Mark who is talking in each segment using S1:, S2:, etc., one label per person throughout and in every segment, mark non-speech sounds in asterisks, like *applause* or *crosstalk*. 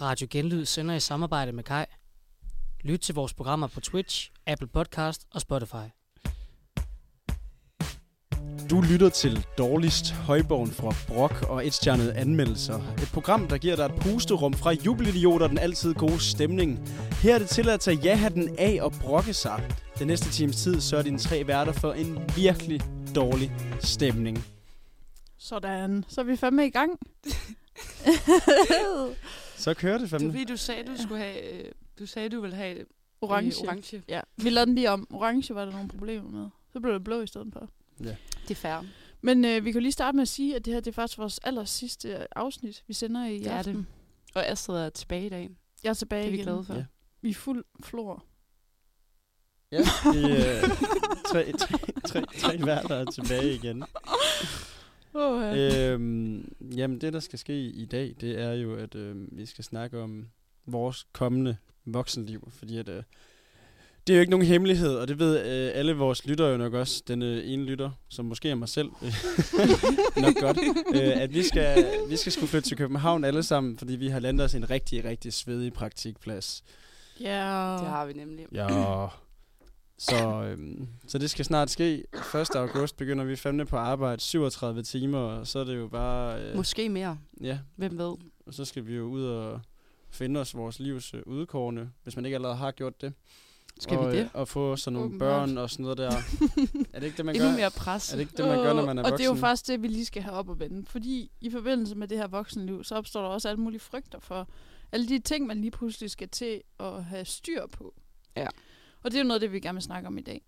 S1: Radio Genlyd sender i samarbejde med Kai. Lyt til vores programmer på Twitch, Apple Podcast og Spotify.
S2: Du lytter til Dårligst Højborgen fra Brok og Etstjernede Anmeldelser. Et program, der giver dig et pusterum fra jubelidioter den altid gode stemning. Her er det til at tage ja-hatten af og brokke sig. Den næste times tid sørger dine tre værter for en virkelig dårlig stemning.
S3: Sådan, så er vi fandme i gang.
S2: Så kører det
S4: Det var
S2: fandme.
S4: fordi, du sagde, du skulle have... øh, Du sagde, du ville have øh,
S3: Orange.
S4: orange.
S3: Ja, vi lavede den lige om. Orange var der nogle problemer med. Så blev det blå i stedet for.
S4: Det er færre.
S3: Men øh, vi kan jo lige starte med at sige, at det her det er faktisk vores aller sidste øh, afsnit, vi sender i
S4: Det er
S3: aften.
S4: det. Og Astrid er tilbage i dag.
S3: Jeg er
S4: Det
S3: tilbage
S4: er vi
S3: igen.
S4: glade for.
S2: Ja.
S4: Ja.
S3: Vi er fuld flor.
S2: Ja, det er øh, tre, tre, tre, tre værter er tilbage igen.
S3: Oh, ja. øh.
S2: øhm, jamen, det der skal ske i dag, det er jo, at øh, vi skal snakke om vores kommende voksenliv, fordi at, øh, det er jo ikke nogen hemmelighed, og det ved øh, alle vores lyttere jo nok også, den øh, ene lytter, som måske er mig selv, øh, *laughs* nok godt, øh, at vi skal, vi skal skulle flytte til København alle sammen, fordi vi har landet os en rigtig, rigtig svedig praktikplads.
S3: Yeah.
S4: Det har vi nemlig.
S2: Ja. Så, øhm, så det skal snart ske. 1. august begynder vi fandme på arbejde 37 timer, og så er det jo bare... Øh,
S4: Måske mere.
S2: ja,
S4: Hvem ved?
S2: og så skal vi jo ud og finde os vores livs øh, udkårne, hvis man ikke allerede har gjort det.
S4: Skal
S2: og,
S4: vi
S2: øh,
S4: det?
S2: Og få sådan nogle
S3: Åbenbart.
S2: børn og sådan noget
S4: *laughs*
S2: der. er det ikke det, man
S4: Endnu
S2: gør?
S4: mere pres.
S2: Er det ikke det, man gør, når man er
S3: og
S2: voksen?
S3: det er jo faktisk det, vi lige skal have op og vende. Fordi i forbindelse med det her voksenliv, så opstår der også alle mulige frygter for alle de ting, man lige pludselig skal til at have styr på.
S4: Ja.
S3: Og det er jo noget af det, vi gerne vil snakke om i dag.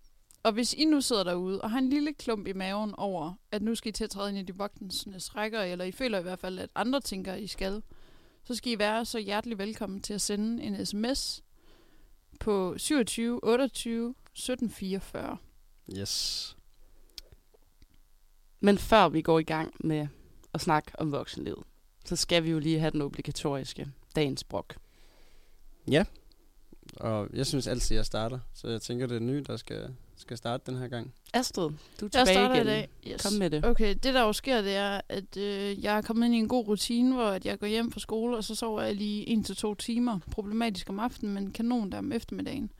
S3: Og hvis I nu sidder derude og har en lille klump i maven over, at nu skal I til at træde ind i de voksnes rækker, eller I føler i hvert fald, at andre tænker, at I skal, så skal I være så hjertelig velkommen til at sende en sms på 27 28 17 44.
S2: Yes.
S4: Men før vi går i gang med at snakke om voksenlivet, så skal vi jo lige have den obligatoriske dagens brok.
S2: Og jeg synes altid, jeg starter. Så jeg tænker, det er ny, der skal, skal starte den her gang.
S4: Astrid, du er
S3: Jeg
S4: tilbage
S3: starter
S4: igen.
S3: i dag. Yes.
S4: Kom med det.
S3: Okay, det der jo sker, det er, at øh, jeg er kommet ind i en god rutine, hvor at jeg går hjem fra skole, og så sover jeg lige en til to timer. Problematisk om aftenen, men kanon der om eftermiddagen.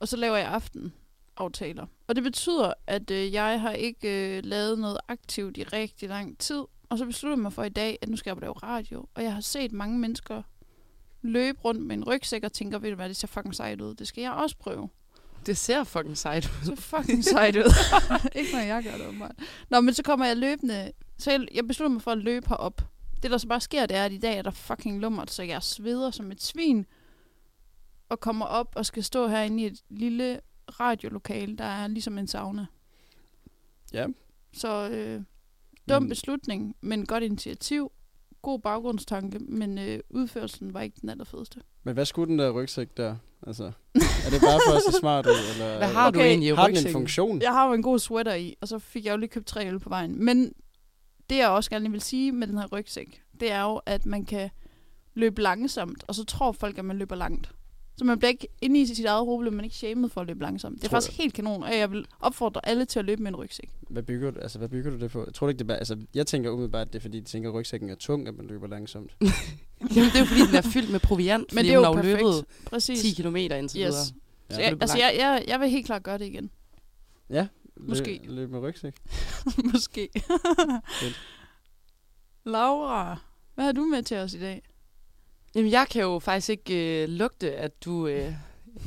S3: Og så laver jeg aftenaftaler. Og det betyder, at øh, jeg har ikke øh, lavet noget aktivt i rigtig lang tid. Og så beslutter jeg mig for i dag, at nu skal jeg op og lave radio. Og jeg har set mange mennesker løbe rundt med en rygsæk og tænker, ved du hvad, det ser fucking sejt ud. Det skal jeg også prøve.
S4: Det ser fucking sejt ud.
S3: *laughs* Så fucking sejt ud. ikke når jeg gør det, åbenbart. Nå, men så kommer jeg løbende. Så jeg, jeg beslutter mig for at løbe herop. Det, der så bare sker, det er, at i dag er der fucking lummert, så jeg sveder som et svin. Og kommer op og skal stå herinde i et lille radiolokale, der er ligesom en sauna.
S2: Ja.
S3: Så øh, dum
S2: Men-
S3: beslutning, men godt initiativ. God baggrundstanke, men øh, udførelsen var ikke den allerfedeste.
S2: Men hvad skulle den der rygsæk der? Altså, er det bare for at se smart ud? Eller,
S4: Hvad har
S3: Okay.
S4: du egentlig i
S2: har den en
S4: rygsækken?
S2: funktion?
S3: Jeg har jo en god sweater i, og så fik jeg jo lige købt tre øl på vejen. Men det, jeg også gerne lige vil sige med den her rygsæk, det er jo, at man kan løbe langsomt, og så tror folk, at man løber langt. Så man bliver ikke inde i sit eget hoved, bliver man ikke shamed for at løbe langsomt. Det er
S2: Tror
S3: faktisk helt kanon, og jeg vil opfordre alle til at løbe med en rygsæk.
S2: Hvad bygger du, altså, hvad bygger du det på? Jeg tror du ikke, det er bare, altså, jeg tænker umiddelbart, det er fordi, de tænker, at rygsækken er tung, at man løber
S4: *laughs*
S2: langsomt.
S4: Jamen, *laughs* det er jo fordi, den er fyldt med proviant,
S3: Men
S4: fordi
S3: det er jo
S4: hun har
S3: perfekt.
S4: løbet
S3: Præcis.
S4: 10 km indtil
S3: Yes.
S4: videre.
S3: Så
S2: Ja.
S3: jeg, altså, jeg, jeg, jeg vil helt klart gøre det igen. *laughs*
S2: Ja,
S3: Måske.
S2: Løb, løb med rygsæk.
S3: Måske. Laura, hvad har du med til os i dag?
S4: Jamen, jeg kan jo faktisk ikke øh, lugte, at du øh,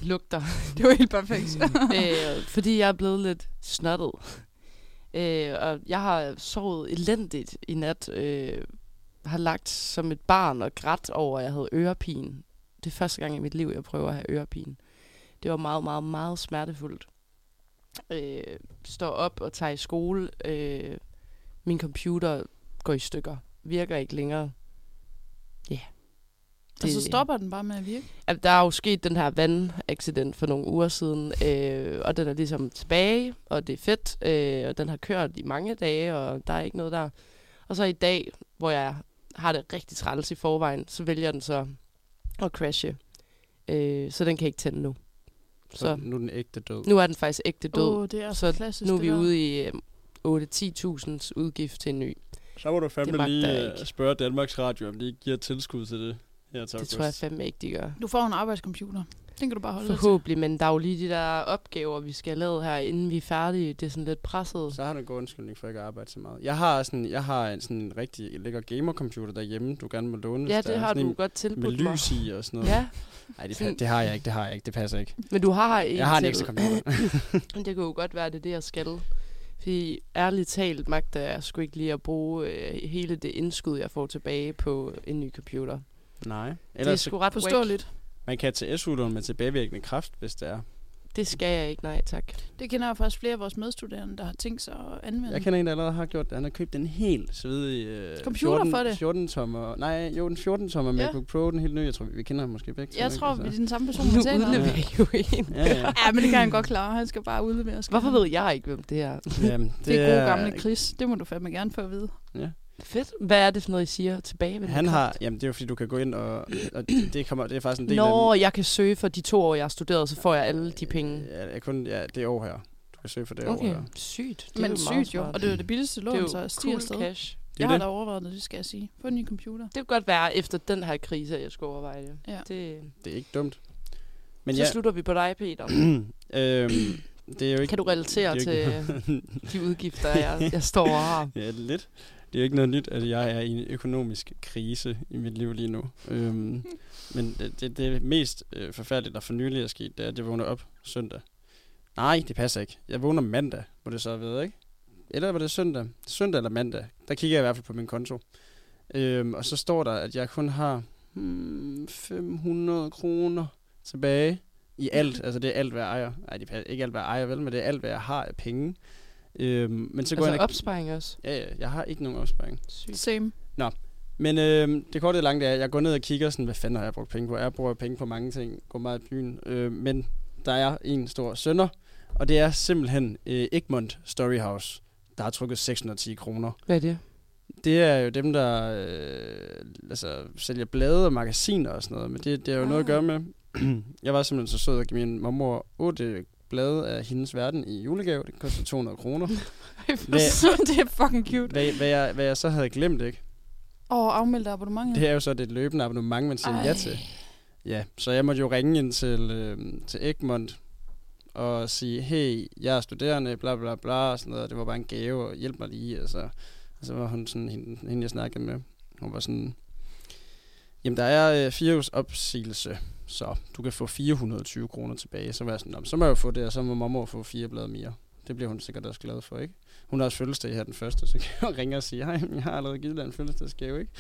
S4: lugter, *laughs*
S3: Det var helt perfekt.
S4: øh, fordi jeg er blevet lidt snottet. Øh, og jeg har sovet elendigt i nat. Øh, har lagt som et barn og grædt over, at jeg havde ørepine. Det er første gang i mit liv, jeg prøver at have ørepine. Det var meget, meget, meget smertefuldt. Øh, står op og tager i skole. Øh, min computer går i stykker. Virker ikke længere. Ja. Yeah.
S3: og så stopper den bare med at virke.
S4: At der er jo sket den her vandaccident for nogle uger siden, øh, og den er ligesom tilbage, og det er fedt, øh, og den har kørt i mange dage, og der er ikke noget der. Og så i dag, hvor jeg har det rigtig træls i forvejen, så vælger den så at crashe. Øh, så den kan ikke tænde nu.
S2: Så,
S4: Så.
S2: nu er den ægte død.
S4: Nu er den faktisk ægte død.
S3: Åh, det er så,
S4: Så
S3: klassisk.
S4: nu er
S3: det
S4: vi
S3: der.
S4: ude i øh, 8-10.000 udgift til en ny.
S2: Så må du øh,
S4: Det magter jeg ikke.
S2: spørge Danmarks Radio, om de ikke giver tilskud til det. her til
S4: Det
S2: august.
S4: tror jeg fandme ikke, de gør.
S3: Du får en arbejdscomputer. Den kan du bare holde dig til.
S4: Forhåbentlig, men der er jo lige de der opgaver, vi skal have lavet her, inden vi er færdige. Det er sådan lidt presset.
S2: Så har du en god undskyldning for ikke at arbejde så meget. Jeg har sådan, jeg har en, sådan en rigtig lækker gamercomputer derhjemme, du gerne må låne.
S4: Ja,
S2: hvis der
S4: det
S2: er
S4: har
S2: sådan
S4: du
S2: en
S4: godt
S2: Med
S4: tilbudt mig.
S2: lys i og sådan noget.
S4: Ja,
S2: Nej, det,
S4: Sådan-
S2: pa- det, har jeg ikke, det har jeg ikke, det passer ikke.
S4: men du har en
S2: Jeg har en
S4: til.
S2: ekstra computer.
S4: *laughs* Men det kunne jo godt være, det er det, jeg skal. Fordi ærligt talt magter jeg sgu ikke lige at bruge øh, hele det indskud, jeg får tilbage på en ny computer.
S2: Nej.
S4: Ellers det er
S2: Ellers
S4: sgu ret Forståeligt.
S3: Forståeligt.
S2: man kan tage SU-lån med tilbagevirkende kraft, hvis det er.
S4: Det skal jeg ikke, nej tak.
S3: Det kender jeg faktisk flere af vores medstuderende, der har tænkt sig at anvende.
S2: Jeg kender en, der allerede har gjort det. Han har købt en helt svedig... Øh,
S3: Computer for det.
S2: 14 tommer. Nej, jo, en 14 tommer
S3: Ja.
S2: MacBook Pro, den helt nye. Jeg tror, vi kender ham måske begge. to,
S3: jeg
S2: ikke?
S3: tror,
S2: Altså.
S3: vi er den samme person,
S4: Nu
S3: vi taler om.
S4: udleverer jeg jo en.
S2: Ja, ja.
S3: Ja, men det kan han godt klare. Han skal bare udlevere. skal
S4: Hvorfor
S3: han?
S4: ved jeg ikke, hvem det er?
S2: Jamen,
S3: det er gode gamle Chris. Det må du fandme gerne få at vide.
S4: Fedt. Hvad er det for noget, I siger tilbage? ved
S2: Han
S4: den
S2: har...
S4: kraft?
S2: Jamen, det er jo, fordi du kan gå ind og... og det, kommer, det er faktisk en del af...
S4: Når jeg kan søge for de to år, jeg har studeret, så får jeg alle de penge.
S2: Ja, ja, kun ja, det år her. Du kan søge for det år
S4: Okay,
S2: her.
S4: sygt. Det
S3: Det
S4: er
S3: men
S4: jo meget
S3: sygt jo.
S4: smart.
S3: Og det er jo det billigste
S4: det er
S3: lån,
S4: jo
S3: så stiger
S4: cool
S3: afsted.
S4: cash.
S2: Det
S3: Jeg
S2: er
S3: har
S2: det.
S3: da overvejet det, det skal jeg sige. Få en ny computer.
S4: Det kunne godt være, efter den her krise, at jeg skulle overveje det.
S3: Ja.
S4: det
S2: det er ikke dumt. Men
S4: så
S2: ja,
S4: slutter vi på dig,
S2: *clears throat*
S4: Peter.
S2: øhm, det er jo ikke...
S4: Kan du relatere
S2: det er
S4: til øh,
S2: jo
S4: de udgifter,
S2: *laughs*
S4: jeg, jeg står og har?
S2: Ja, lidt. Det er jo ikke noget nyt, at jeg er i en økonomisk krise i mit liv lige nu.
S4: *laughs*
S2: Øhm, men det, det, det mest øh, forfærdelige, der for nylig er sket, det er, at jeg vågner op søndag. Nej, det passer ikke. Jeg vågner mandag, må det så have været, ikke? Eller var det søndag? Søndag eller mandag. Der kigger jeg i hvert fald på min konto. Øhm, og så står der, at jeg kun har hmm, 500 kroner tilbage i
S4: *laughs*
S2: alt. Altså det er alt, hvad jeg ejer. Nej, det er ikke alt, hvad jeg ejer, vel, men det er alt, hvad jeg har af penge. Øhm, men så går jeg
S4: Altså
S2: ind og-
S4: opsparing også.
S2: Ja, ja, jeg har ikke nogen opsparing.
S4: Sygt.
S3: Same.
S2: Men øh, det korte og lange det er, at jeg går ned og kigger sådan, hvad fanden har jeg brugt penge på? Jeg bruger penge på mange ting, går meget i byen. Øh, men der er en stor sønder, og det er simpelthen øh, Egmont Storyhouse, der har trykket 610 kroner.
S4: Hvad er det?
S2: Det er jo dem, der øh, altså, sælger blade og magasiner og sådan noget, men det, det har jo ah. noget at gøre med. *clears throat* jeg var simpelthen så sød at give min mormor otte blade af hendes verden i julegave. Det koster 200 kroner.
S3: det er fucking cute.
S2: Hvad, hvad, jeg, hvad jeg så havde glemt, ikke?
S3: Og afmeld dig abonnementet.
S2: Det er jo så det løbende abonnement, man siger Ej. ja til. Ja, så jeg måtte jo ringe ind til, øh, til Egmont og sige, hey, jeg er studerende, bla bla bla, og sådan noget, og det var bare en gave, og hjælp mig lige, og så, og så var hun sådan, hende, hende jeg snakkede med, hun var sådan, jamen der er øh, fire uges opsigelse, så du kan få 420 kroner tilbage, så var jeg sådan, "Nå, men så må jeg jo få det, og så må mamma få fire blade mere. Det bliver hun sikkert også glad for, ikke? Hun har også fødselsdag her den første, så kan jeg ringe og sige, hej, jeg har allerede givet dig en fødselsdagsgave, ikke?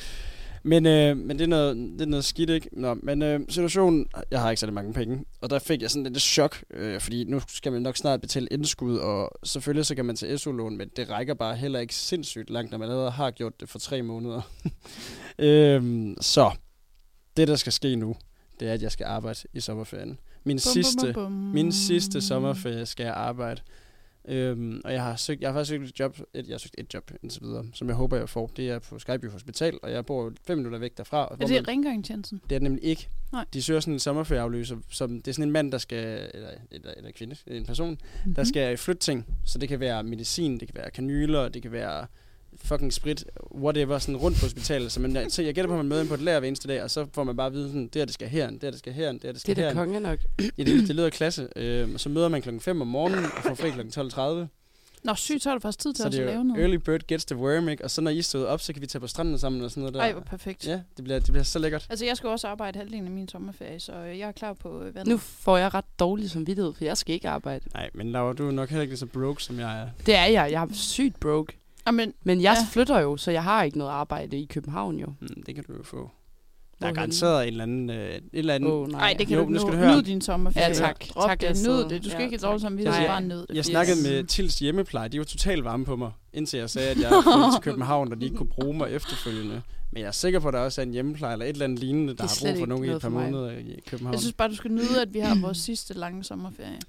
S2: Men, øh, men det, er noget, det er noget skidt, ikke? Nå, men øh, situationen, jeg har ikke særlig mange penge, og der fik jeg sådan lidt et chok, øh, fordi nu skal man nok snart betale indskud, og selvfølgelig så kan man tage SU-lån, men det rækker bare heller ikke sindssygt langt, når man allerede har gjort det for tre måneder. *laughs* øhm, så, det der skal ske nu, det er, at jeg skal arbejde i sommerferien. Min bum, sidste
S3: bum, bum.
S2: min sidste sommerferie skal jeg arbejde. Øhm, og jeg har, søgt, jeg har faktisk søgt et job, et, jeg har søgt et job indtil videre, som jeg håber, jeg får. Det er på Skyby Hospital, og jeg bor jo fem minutter væk derfra. Og
S3: Er
S2: hvor
S3: det
S2: man,
S3: rengøringstjenesten?
S2: det er det nemlig ikke.
S3: Nej.
S2: De søger sådan en sommerferieafløser, som det er sådan en mand, der skal, eller, eller, eller kvinde, en person,
S3: Mhm.
S2: der skal flytte ting. Så det kan være medicin, det kan være kanyler, det kan være fucking sprit, whatever, sådan rundt på hospitalet. Så, man, så jeg gætter på, at man møder ind på et lager hver eneste dag, og så får man bare at vide, sådan, det her, det skal herhen, det her, det skal herhen, det her, det skal
S4: Det er da
S2: herhen.
S4: konge nok.
S2: Ja, det, det lyder klasse. Øh, og så møder man klokken 5 om morgenen og får fri klokken 12.30.
S3: Nå, sygt, så har du faktisk tid til
S2: Så
S3: også
S2: det
S3: at
S2: er
S3: lave
S2: jo
S3: noget.
S2: early bird gets the worm, ikke? Og så når I stod op, så kan vi tage på stranden sammen og sådan noget der.
S3: Ej, hvor perfekt.
S2: Ja, det bliver, det bliver så lækkert.
S3: Altså, jeg skal jo også arbejde halvdelen af min sommerferie, så øh, jeg er klar på øh, vandet.
S4: Nu får jeg ret dårlig samvittighed, for jeg skal ikke arbejde.
S2: Nej, men Laura, du er nok heller ikke lige så broke, som jeg er.
S4: Det er jeg. Jeg er sygt broke.
S3: Jamen,
S4: Men jeg
S3: Ja.
S4: ja. flytter jo, så jeg har ikke noget arbejde i København jo.
S2: Mm, det kan du jo få. Der er
S4: Hvorhenne?
S2: garanteret en eller anden... Øh, et eller andet
S4: Åh, oh, nej.
S3: nej, det kan
S2: Jo,
S3: du
S2: nu
S3: ikke
S2: skal
S3: nå.
S2: du høre.
S3: Nyd din sommerferie.
S4: Ja, tak.
S3: Drop
S4: Tak,
S3: det.
S4: jeg
S3: Nyd
S4: sidder-
S3: det. Du skal
S4: Ja,
S3: ikke have
S4: tak.
S3: dårlig samvittighed,
S4: Nej.
S3: bare nyd det.
S2: jeg
S4: Yes.
S2: snakkede med Tils hjemmepleje, de var totalt varme på mig, indtil jeg sagde, at jeg flyttede til København, og de ikke kunne bruge mig efterfølgende. Men jeg er sikker på, at der også er en hjemmepleje eller et eller andet lignende,
S4: Det
S2: der
S4: er
S2: har
S4: slet
S2: brug for
S4: ikke
S2: nogen i et
S4: noget
S2: par
S4: for mig.
S2: måneder i København.
S3: Jeg synes bare, du skal nyde, at vi
S2: *clears throat*
S3: har vores sidste lange sommerferie.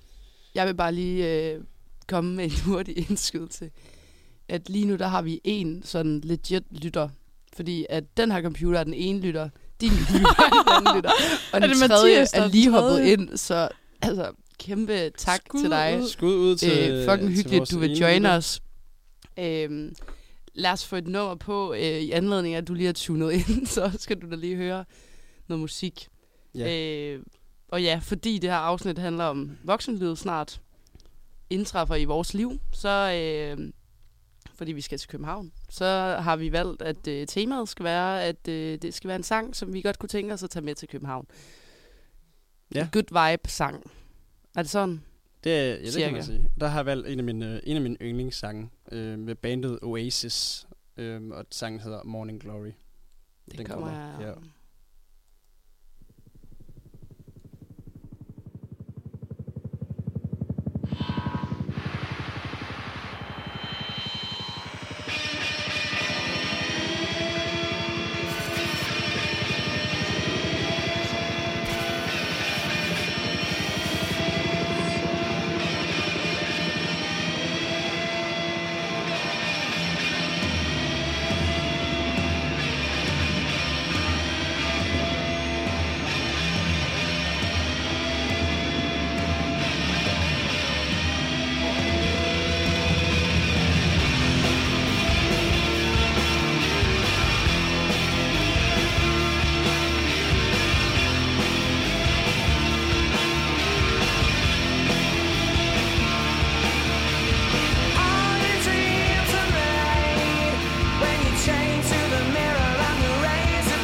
S4: Jeg vil bare lige øh, komme med *laughs* en hurtig indskud til, at lige nu der har vi en sådan legit lytter. Fordi at den her computer er den ene lytter, din *laughs* computer er den anden lytter, og
S3: Er
S4: den
S3: det
S4: tredje
S3: Mathias, der er
S4: er lige
S3: den
S4: hoppet
S3: tredje?
S4: ind. Så altså, kæmpe tak
S3: Skud
S4: til dig.
S3: ud.
S2: Skud ud til...
S4: øh, fucking
S2: til
S4: hyggeligt,
S2: vores
S4: du vil
S2: ene
S4: join
S2: lytter.
S4: os. Øhm, *laughs* lad os få et nummer på øh, i anledning af, at du lige har tunet ind, så skal du da lige høre noget musik.
S2: Ja.
S4: Øh, og ja, fordi det her afsnit handler om voksenlivet snart indtræffer i vores liv, så øh, fordi vi skal til København, så har vi valgt, at øh, temaet skal være, at øh, det skal være en sang, som vi godt kunne tænke os at tage med til København.
S2: Ja.
S4: En good vibe-sang. Er det sådan?
S2: Det, er- ja, det kan
S4: Cirka.
S2: man sige. Der har jeg valgt en af mine, øh, en af mine yndlingssange øh, med bandet Oasis, øh, og sangen hedder Morning Glory.
S4: Det kommer her.
S2: Ja.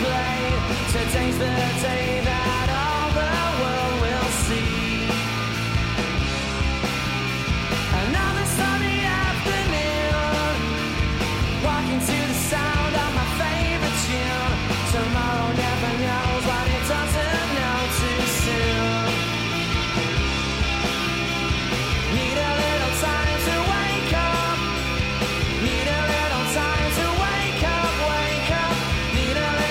S5: Today's the day that all the world will see. Another sunny afternoon, walking to the sound of my favorite tune. Tomorrow never knows what it doesn't know too soon. Need a little time to wake up. Need a little time to wake up, wake up. Need a little time to wake up.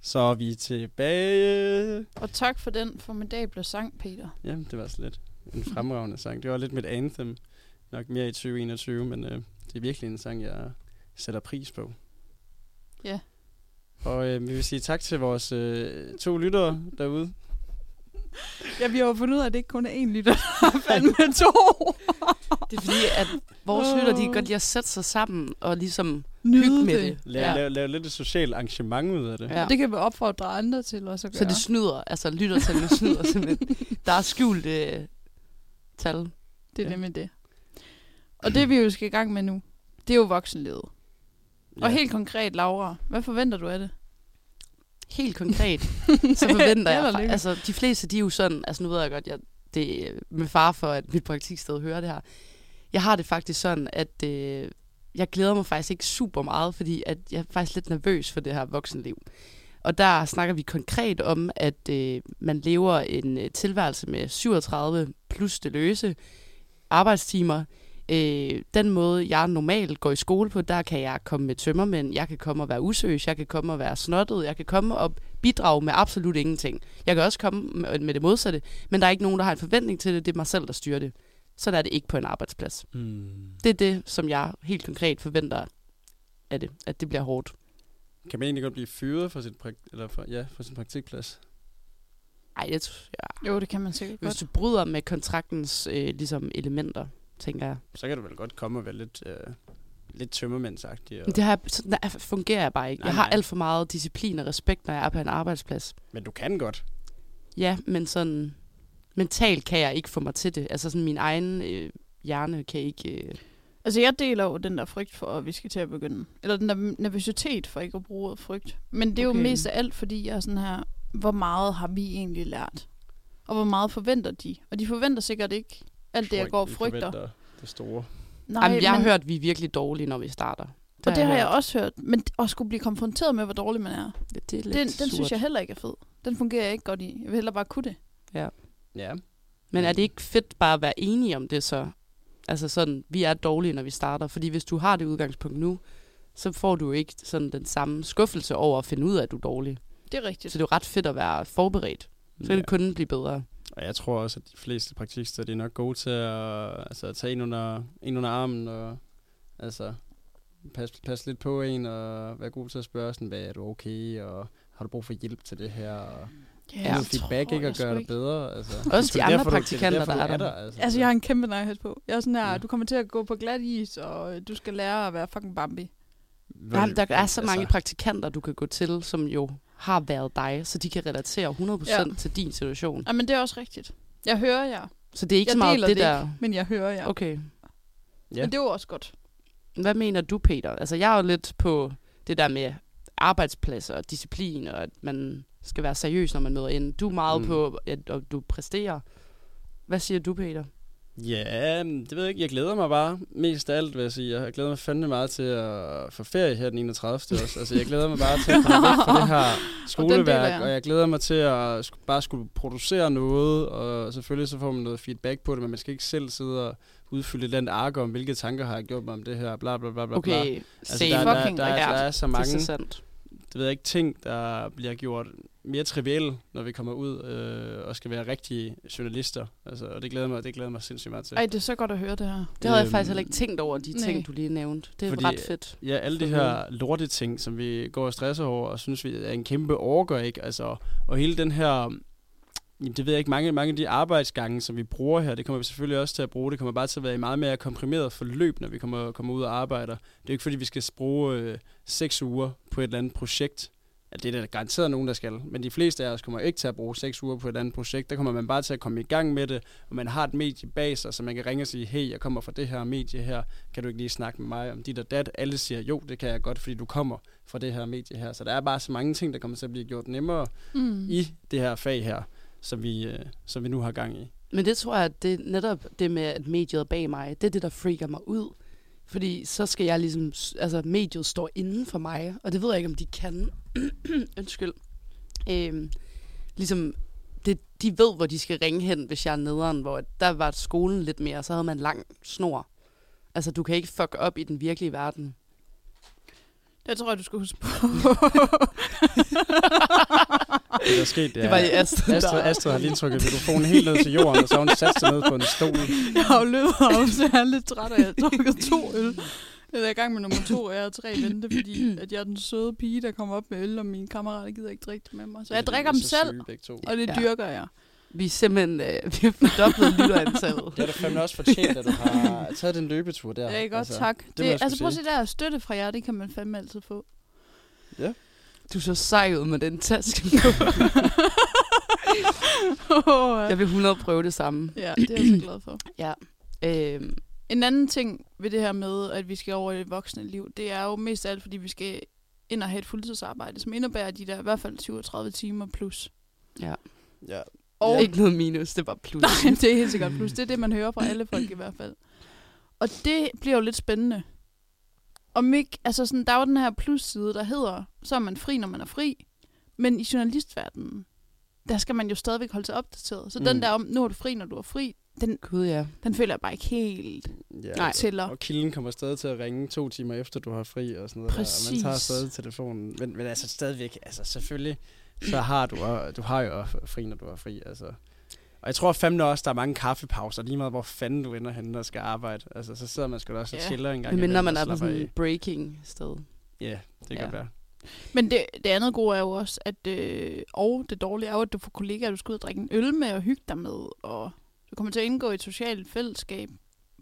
S2: Så er vi tilbage.
S3: Og tak for den formidable sang, Peter.
S2: Jamen, det var så lidt en fremragende sang. Det var lidt mit anthem. Nok mere i 2021, men øh, det er virkelig en sang, jeg sætter pris på.
S3: Ja.
S2: Og øh, vi vil sige tak til vores øh, to lyttere derude.
S3: Ja, vi har jo fundet ud af, at det ikke kun er én lytter, der *laughs* er fandme to.
S4: Det er fordi, at vores lytter, de kan godt lide at sætte sig sammen og ligesom hygge
S3: Nyde
S4: med
S3: det.
S4: det.
S2: Lav, ja. lav, lav lidt et socialt arrangement ud af det.
S4: Ja.
S3: Det kan vi opfordre andre til også at gøre.
S4: Så det snyder, altså lytter til, det snyder
S2: *laughs*
S4: simpelthen. Der er skjult øh, tal.
S2: Ja.
S3: Det er ja. nemlig det. Og det vi jo skal i gang med nu, det er jo voksenlivet. Ja. Og helt konkret, Laura, hvad forventer du af det?
S4: Helt konkret,
S3: *laughs*
S4: så forventer
S3: Held
S4: jeg...
S3: og
S4: fra-
S3: lykke.
S4: Altså, de fleste, de er jo sådan... Altså, nu ved jeg godt, jeg, det er med far for, at mit praktiksted hører det her. Jeg har det faktisk sådan, at øh, jeg glæder mig faktisk ikke super meget, fordi at jeg er faktisk lidt nervøs for det her voksenliv. Og der snakker vi konkret om, at øh, man lever en øh, tilværelse med 37 plus det løse arbejdstimer. Øh, den måde, jeg normalt går i skole på, der kan jeg komme med tømmermænd, jeg kan komme og være usøs, jeg kan komme og være snottet, jeg kan komme og bidrage med absolut ingenting. Jeg kan også komme med med det modsatte, men der er ikke nogen, der har en forventning til det, det er mig selv, der styrer det. Sådan er det ikke på en arbejdsplads.
S2: Mm.
S4: Det er det, som jeg helt konkret forventer af det, at det bliver hårdt.
S2: Kan man egentlig godt blive fyret fra, sit prakt- eller fra, ja, fra sin praktikplads?
S4: Ej, jeg tror, ja.
S3: Jo, det kan man sikkert
S4: Hvis
S3: godt.
S4: du bryder med kontraktens øh, ligesom elementer, tænker jeg.
S2: Så kan du vel godt komme og være lidt, øh, lidt tømmermandsagtig. Og,
S4: Men det har, jeg- sådan er- fungerer jeg bare ikke.
S2: Nej,
S4: jeg har
S2: nej.
S4: alt for meget disciplin og respekt, når jeg er på en arbejdsplads.
S2: men du kan godt.
S4: Ja, men sådan mentalt kan jeg ikke få mig til det. Altså sådan min egen øh, hjerne kan ikke... Øh,
S3: Altså, jeg deler jo den der frygt for, at vi skal til at begynde. Eller den der nervøsitet for ikke at bruge ordet frygt. Men det er okay.
S4: Okay.
S3: jo mest af alt, fordi jeg er sådan her, hvor meget har vi egentlig lært? Og hvor meget forventer de? Og de forventer sikkert ikke alt det, jeg
S2: Frygt-
S3: går og
S2: vi
S3: frygter.
S2: forventer Det store.
S3: Nej,
S4: Ej, jamen, jeg har hørt, at vi er virkelig dårlige, når vi starter.
S3: og det har jeg
S4: hørt.
S3: også hørt. Men at skulle blive konfronteret med, hvor dårlig man er,
S4: Det, det er lidt
S3: den, den
S4: surt.
S3: synes jeg heller ikke er fed. Den fungerer jeg ikke godt i. Jeg vil hellere bare kunne det.
S2: Ja.
S4: Men er det ikke fedt bare at være enige om det så? Altså sådan, vi er dårlige, når vi starter. Fordi hvis du har det udgangspunkt nu, så får du jo ikke sådan den samme skuffelse over at finde ud af, at du er dårlig.
S3: Det er
S4: Så
S3: rigtigt.
S4: det er jo ret fedt at være forberedt. Så kan
S2: ja.
S4: det kun blive bedre.
S2: Og jeg tror også, at de fleste praktiksteder, de er nok gode til at, altså, at tage en under, en under armen og altså, passe pas lidt på en og være god til at spørge, sådan, hvad er du okay, og har du brug for hjælp til det her? Og
S4: Ja.
S2: ja, feedback ikke
S3: jeg
S2: at
S3: sgu
S2: gøre dig
S3: ikke.
S2: bedre. Altså.
S4: Også de andre
S2: derfor, du- det
S4: praktikanter,
S2: derfor,
S4: der
S2: du
S4: er der.
S2: Altså,
S3: Altså, jeg har en kæmpe nejhed på. Jeg er sådan her,
S2: Ja.
S3: ja. du kommer til at gå på glat is, og øh, du skal lære at være fucking Bambi.
S2: Hvor-
S4: Der, der er så mange
S2: altså,
S4: praktikanter, du kan gå til, som jo har været dig, så de kan relatere 100% ja.
S3: Ja.
S4: til din situation.
S3: Ja, men det er også rigtigt. Jeg hører jer.
S4: Så det er ikke
S3: jeg
S4: så meget
S3: deler
S4: det,
S3: det
S4: der...
S3: ikke, men jeg hører jer. Okay.
S4: Okay.
S2: Ja.
S3: Ja. Men det er jo også godt.
S4: Hvad mener du, Peter? Altså, jeg er jo lidt på det der med arbejdspladser og disciplin, og at man skal være seriøs, når man møder ind. Du er meget
S2: Mm.
S4: mm. på, at og du præsterer. Hvad siger du, Peter?
S2: Ja, men det ved jeg ikke. Jeg glæder mig bare mest af alt, vil jeg sige. Jeg glæder mig fandme meget til at få ferie her den 31. også. Altså, jeg glæder mig bare til at komme væk fra det
S4: *laughs*
S2: her
S3: deler
S2: skoleværk,
S3: jeg.
S2: og jeg glæder mig til at sk- bare skulle producere noget, og selvfølgelig så får man noget feedback på det, men man skal ikke selv sidde og udfylde et eller andet ark om, hvilke tanker har jeg gjort mig om det her, bla bla bla bla. bla.
S4: Okay,
S2: Altså,
S4: same.
S2: der,
S4: Fuck,
S2: der, der,
S3: fucking
S2: der, er, der
S4: rigtigt.
S2: er så
S4: det er
S2: mange
S4: så sandt.
S2: det ved jeg ikke, ting, der bliver gjort mere trivielle, når vi kommer ud øh, og skal være rigtige journalister. Altså, og det glæder mig, det glæder mig sindssygt meget til.
S3: Ej, det er så godt at høre det her.
S4: Det havde jeg
S2: Øhm,
S4: faktisk heller ikke tænkt over, de ting,
S3: nej.
S4: du lige nævnte. Det er
S2: Fordi-
S4: ret fedt.
S2: Ja, alle de
S4: For
S2: her lorte ting, som vi går og stresser over, og synes, vi er en kæmpe orker, ikke? Altså, og hele den her... Jamen, det ved jeg ikke, mange, mange af de arbejdsgange, som vi bruger her, det kommer vi selvfølgelig også til at bruge. Det kommer bare til at være i meget mere komprimeret forløb, når vi kommer, kommer ud og arbejder. Det er jo ikke, fordi vi skal bruge øh, seks uger på et eller andet projekt. Ja, det er der garanteret nogen, der skal. Men de fleste af os kommer ikke til at bruge seks uger på et eller andet projekt. Der kommer man bare til at komme i gang med det, og man har et medie bag sig, så man kan ringe og sige, hey, jeg kommer fra det her medie her kan du ikke lige snakke med mig om dit og dat? Alle siger, jo, det kan jeg godt, fordi du kommer fra det her medie her. Så der er bare så mange ting, der kommer til at blive gjort nemmere
S3: Mm.
S2: i det her fag her, som vi, øh, som vi nu har gang i.
S4: Men det tror jeg, at det netop det med, at mediet er bag mig, det er det, der freaker mig ud. Fordi så skal jeg ligesom, altså mediet står inden for mig, og det ved jeg ikke, om de kan. *clears throat* Undskyld. Øhm, ligesom, det, de ved, hvor de skal ringe hen, hvis jeg er nederen, hvor der var skolen lidt mere, så havde man lang snor. Altså, du kan ikke fuck op i den virkelige verden.
S3: Det tror jeg, du skal huske på.
S2: Det, der er sket, det,
S4: Det var
S2: er,
S4: i Astrid, der-
S2: Astrid, Astrid har lige trykket mikrofonen helt ned til jorden, og så har hun sat sig ned på en stol.
S3: *laughs* jeg har jo løbet om, så jeg er lidt træt, og jeg har drukket to øl. Jeg er i gang med nummer to, og jeg har tre vente, fordi at jeg er den søde pige, der kommer op med øl, og mine kammerater gider ikke drikke det med mig. Så
S2: Altså,
S3: jeg drikker dem selv, og det
S4: Ja.
S3: dyrker jeg.
S4: Vi er simpelthen øh, vi har fordoblet lytterantallet.
S2: Det har du fandme også fortjent, at du har taget den løbetur der.
S3: Ja, godt, altså, tak. Det,
S2: vil jeg
S3: det,
S2: sgu
S3: altså prøv at se
S2: sige.
S3: der, støtte fra jer, det kan man fandme altid få.
S4: Du så sej ud med den taske. *laughs*
S3: oh, ja.
S4: Jeg vil 100 prøve det samme.
S3: ja, det er jeg så glad for.
S4: Øhm,
S3: En anden ting ved det her med, at vi skal over i det voksne liv, det er jo mest af alt, fordi vi skal ind og have et fuldtidsarbejde, som indebærer de der i hvert fald 37 timer plus.
S2: Ja.
S3: Og
S4: Ikke noget minus, det var plus.
S3: Nej, *laughs* det er helt sikkert plus. Det er det, man hører fra alle folk i hvert fald. Og det bliver jo lidt spændende. Og Mik, altså sådan, der er jo den her plusside, der hedder, så er man fri, når man er fri. Men i journalistverdenen, der skal man jo stadigvæk holde sig opdateret. Så mm. den
S2: Mm.
S3: der om, nu er du fri, når du er fri, den,
S4: Gud, ja.
S3: den føler jeg bare ikke helt
S2: ja.
S4: Nej.
S3: tæller.
S2: Og kilden kommer stadig til at ringe to timer efter, du har fri og sådan noget der. Og
S3: Præcis.
S2: man tager stadig telefonen. Men, men altså stadigvæk, altså selvfølgelig, så har du, og- du har jo også fri, når du har fri. Altså. Og jeg tror fandme også, der er mange kaffepauser, lige meget hvor fanden du ender henne og skal arbejde. Altså, så sidder man sgu da også og
S3: Ja.
S2: chiller en gang.
S4: Men mindre
S2: imellem
S4: man
S2: og
S4: er på
S2: slapper
S4: sådan
S2: af.
S4: en breaking sted.
S2: Ja, det kan
S4: Ja.
S2: ja. være.
S3: Men det, det andet gode er jo også, at øh, og det dårlige er jo, at du får kollegaer, du skal ud og drikke en øl med og hygge dig med, og du kommer til at indgå i et socialt fællesskab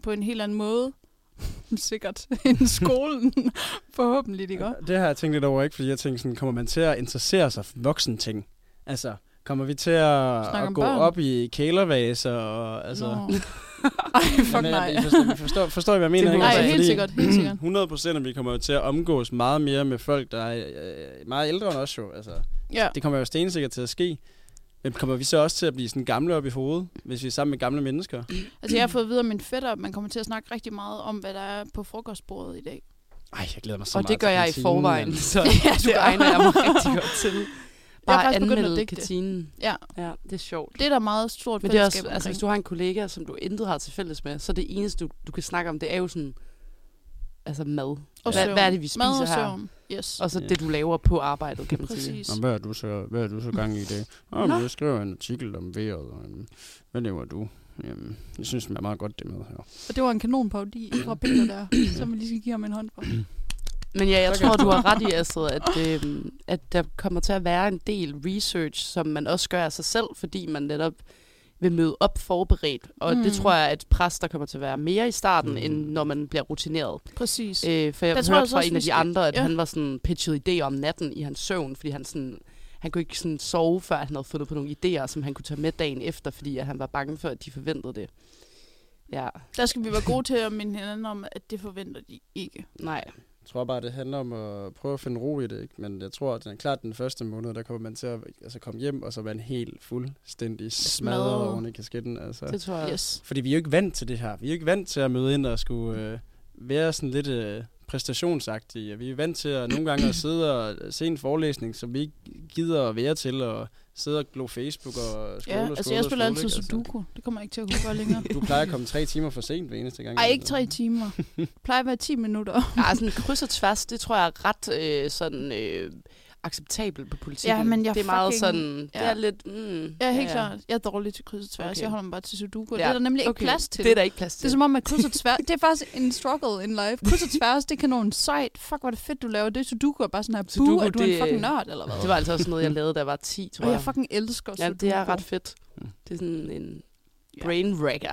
S3: på en helt anden måde, *laughs* sikkert, end skolen, *laughs* forhåbentlig, ikke? også?
S2: Det har jeg tænkt lidt over, ikke? Fordi jeg tænkte sådan, kommer man til at interessere sig for voksen ting? Altså, kommer vi til at,
S3: Snakke om
S2: at gå
S3: børn?
S2: op i kælervaser og altså...
S3: Nå.
S4: *laughs*
S3: Ej, fuck
S2: Jamen,
S3: nej.
S2: I Forstår, I *laughs* forstår, forstår I, hvad jeg mener?
S4: Det
S2: ikke?
S4: håber
S3: Nej,
S4: jeg.
S2: Altså,
S3: helt
S2: fordi
S3: sikkert, helt
S2: *clears throat*
S3: sikkert.
S2: 100 procent, at vi kommer jo til at omgås meget mere med folk, der er øh, meget ældre end os jo. Altså,
S3: *laughs* Ja,
S2: det kommer jo stensikkert til at ske. Men kommer vi så også til at blive sådan gamle op i hovedet, hvis vi er sammen med gamle mennesker?
S3: altså jeg har fået videre min fætter, at man kommer til at snakke rigtig meget om, hvad der er på frokostbordet i dag.
S2: Ej, jeg glæder mig så
S4: Og
S2: meget
S4: det gør
S2: til
S4: jeg i
S2: altså kantinen,
S4: forvejen,
S2: mand.
S4: *laughs* så
S3: Ja, du
S4: det
S3: gør.
S4: egner jeg mig rigtig godt *laughs* til.
S3: Jeg er
S4: Bare
S3: faktisk begyndt at
S4: anmelde
S3: digte.
S4: kantinen.
S3: Ja.
S4: ja, det er sjovt.
S3: Det er der meget stort
S4: Men det er også,
S3: fællesskab
S4: altså, hvis
S3: omkring.
S4: du har en kollega, som du intet har til fælles med, så det eneste, du, du kan snakke om, det er jo sådan, altså mad.
S3: Og
S4: Hvad,
S3: søvn.
S4: hvad er det, vi spiser
S3: Mad og
S4: her?
S3: søvn. Yes,
S4: Og så
S2: Ja.
S4: det, du laver på arbejdet, kan man sige.
S3: præcis.
S2: Nå, hvad er du så, hvad er du så gang i i dag? Nå, men jeg skriver en artikel om vejret, og øhm, hvad laver du? Jamen, jeg synes, det er meget godt, det med her.
S3: Og det var en kanonparodi fra Peter der, som vi lige skal give ham en hånd for.
S4: Men ja, jeg
S2: Så kan
S4: tror,
S2: jeg
S4: du har ret i, Astrid, at, øh, at der kommer til at være en del research, som man også gør af sig selv, fordi man netop vil møde op forberedt. Og mm.
S3: Mm.
S4: det tror jeg, at pres, der kommer til at være mere i starten, mm.
S2: Mm.
S4: end når man bliver rutineret.
S3: Præcis.
S4: Øh, for jeg
S3: Der
S4: hørte
S3: tror
S4: fra
S3: jeg også,
S4: en af
S3: vi
S4: de
S3: skal-
S4: andre, at
S3: ja.
S4: ja. han var sådan pitchet idéer om natten i hans søvn, fordi han sådan... Han kunne ikke sådan sove, før han havde fundet på nogle idéer, som han kunne tage med dagen efter, fordi at han var bange for, at de forventede det. Ja,
S3: Der skal vi være gode til at minde hinanden om, at det forventer de ikke.
S4: nej.
S2: Jeg tror bare, det handler om at prøve at finde ro i det, ikke? Men jeg tror, at den, klart den første måned, der kommer man til at altså, komme hjem, og så være en helt fuldstændig smadret
S3: Smadret.
S2: oven i kasketten. Altså.
S4: Det tror jeg. Yes.
S3: Yes.
S2: Fordi vi er jo ikke vant til det her. Vi er jo ikke vant til at møde ind og skulle øh, være sådan lidt øh, præstationsagtige. Vi er vant til at nogle gange at sidde og se en forelæsning, som vi ikke gider at være til, og sidde og glo Facebook og scrolle
S3: Ja,
S2: og
S3: altså
S2: scrolle
S3: jeg
S2: og
S3: spiller
S2: scrolle,
S3: altid
S2: ikke? Altså,
S3: sudoku. Det kommer jeg ikke til at kunne gøre
S4: *laughs*
S3: længere.
S2: Du plejer at komme tre timer for sent hver eneste gang.
S3: Ej,
S2: eller
S3: ikke
S2: noget.
S3: tre timer. Det plejer at være 10 minutter.
S4: *laughs* Ja, sådan kryds og tværs, det tror jeg er ret øh, sådan øh, acceptabelt på politikken.
S3: Ja, men jeg
S4: det er meget
S3: fucking-
S4: sådan, det
S3: ja.
S4: er lidt... Mm,
S3: Ja, helt klart. Jeg er dårlig til kryds og tværs.
S4: Okay.
S3: Jeg holder mig bare til sudoku. Det
S4: Ja,
S3: er der nemlig ikke plads til.
S4: Det er der ikke plads til.
S3: det er som om, at kryds og
S4: *laughs*
S3: tværs... Det er faktisk en struggle in life. Kryds og tværs, det kan nogen sejt. Fuck, hvor er det fedt, du laver det. Sudoku er bare sådan her,
S4: Sudoku,
S3: buh, er du
S4: det-
S3: en fucking nørd, eller hvad?
S4: det var altså også noget, jeg lavede, da jeg var 10, tror
S3: Og
S4: jeg.
S3: jeg fucking elsker
S4: ja,
S3: sudoku.
S4: det er ret fedt.
S2: Mm.
S4: Det er sådan en
S3: Ja.
S4: brain wrecker.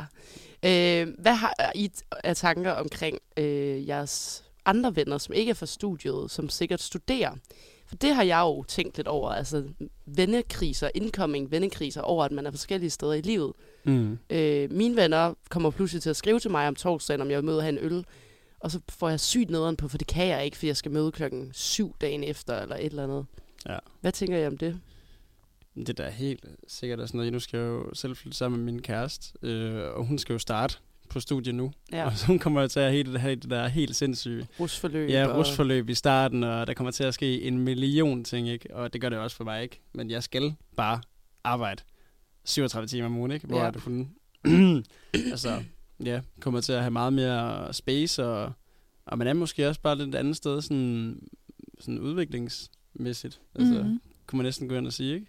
S4: Øh, hvad har I t- af tanker omkring øh, jeres andre venner, som ikke er fra studiet, som sikkert studerer? For det har jeg jo tænkt lidt over, altså vennekriser, incoming vennekriser over, at man er forskellige steder i livet.
S2: Mm.
S4: Øh, mine venner kommer pludselig til at skrive til mig om torsdagen, om jeg vil møde og have en øl. Og så får jeg sygt nederen på, for det kan jeg ikke, fordi jeg skal møde klokken syv dagen efter, eller et eller andet.
S2: Ja.
S4: Hvad tænker I om det?
S2: Det er da helt sikkert er sådan noget. Nu skal jeg jo selv flytte sammen med min kæreste, øh, og hun skal jo starte på studie nu. Ja.
S4: Ja,
S2: Og *laughs* så hun kommer jo til at have det, have det der helt sindssyge
S4: rusforløb.
S2: ja,
S4: og-
S2: rusforløb i starten, og der kommer til at ske en million ting, ikke? Og det gør det også for mig, ikke? Men jeg skal bare arbejde 37 timer om ugen, ikke? Hvor
S4: Ja.
S2: ja. du kun... *clears throat* altså, ja, kommer til at have meget mere space, og, og man er måske også bare lidt andet sted, sådan sådan udviklingsmæssigt. Altså, mm-hmm.
S3: Mhm.
S2: kunne man næsten gå ind og sige, ikke?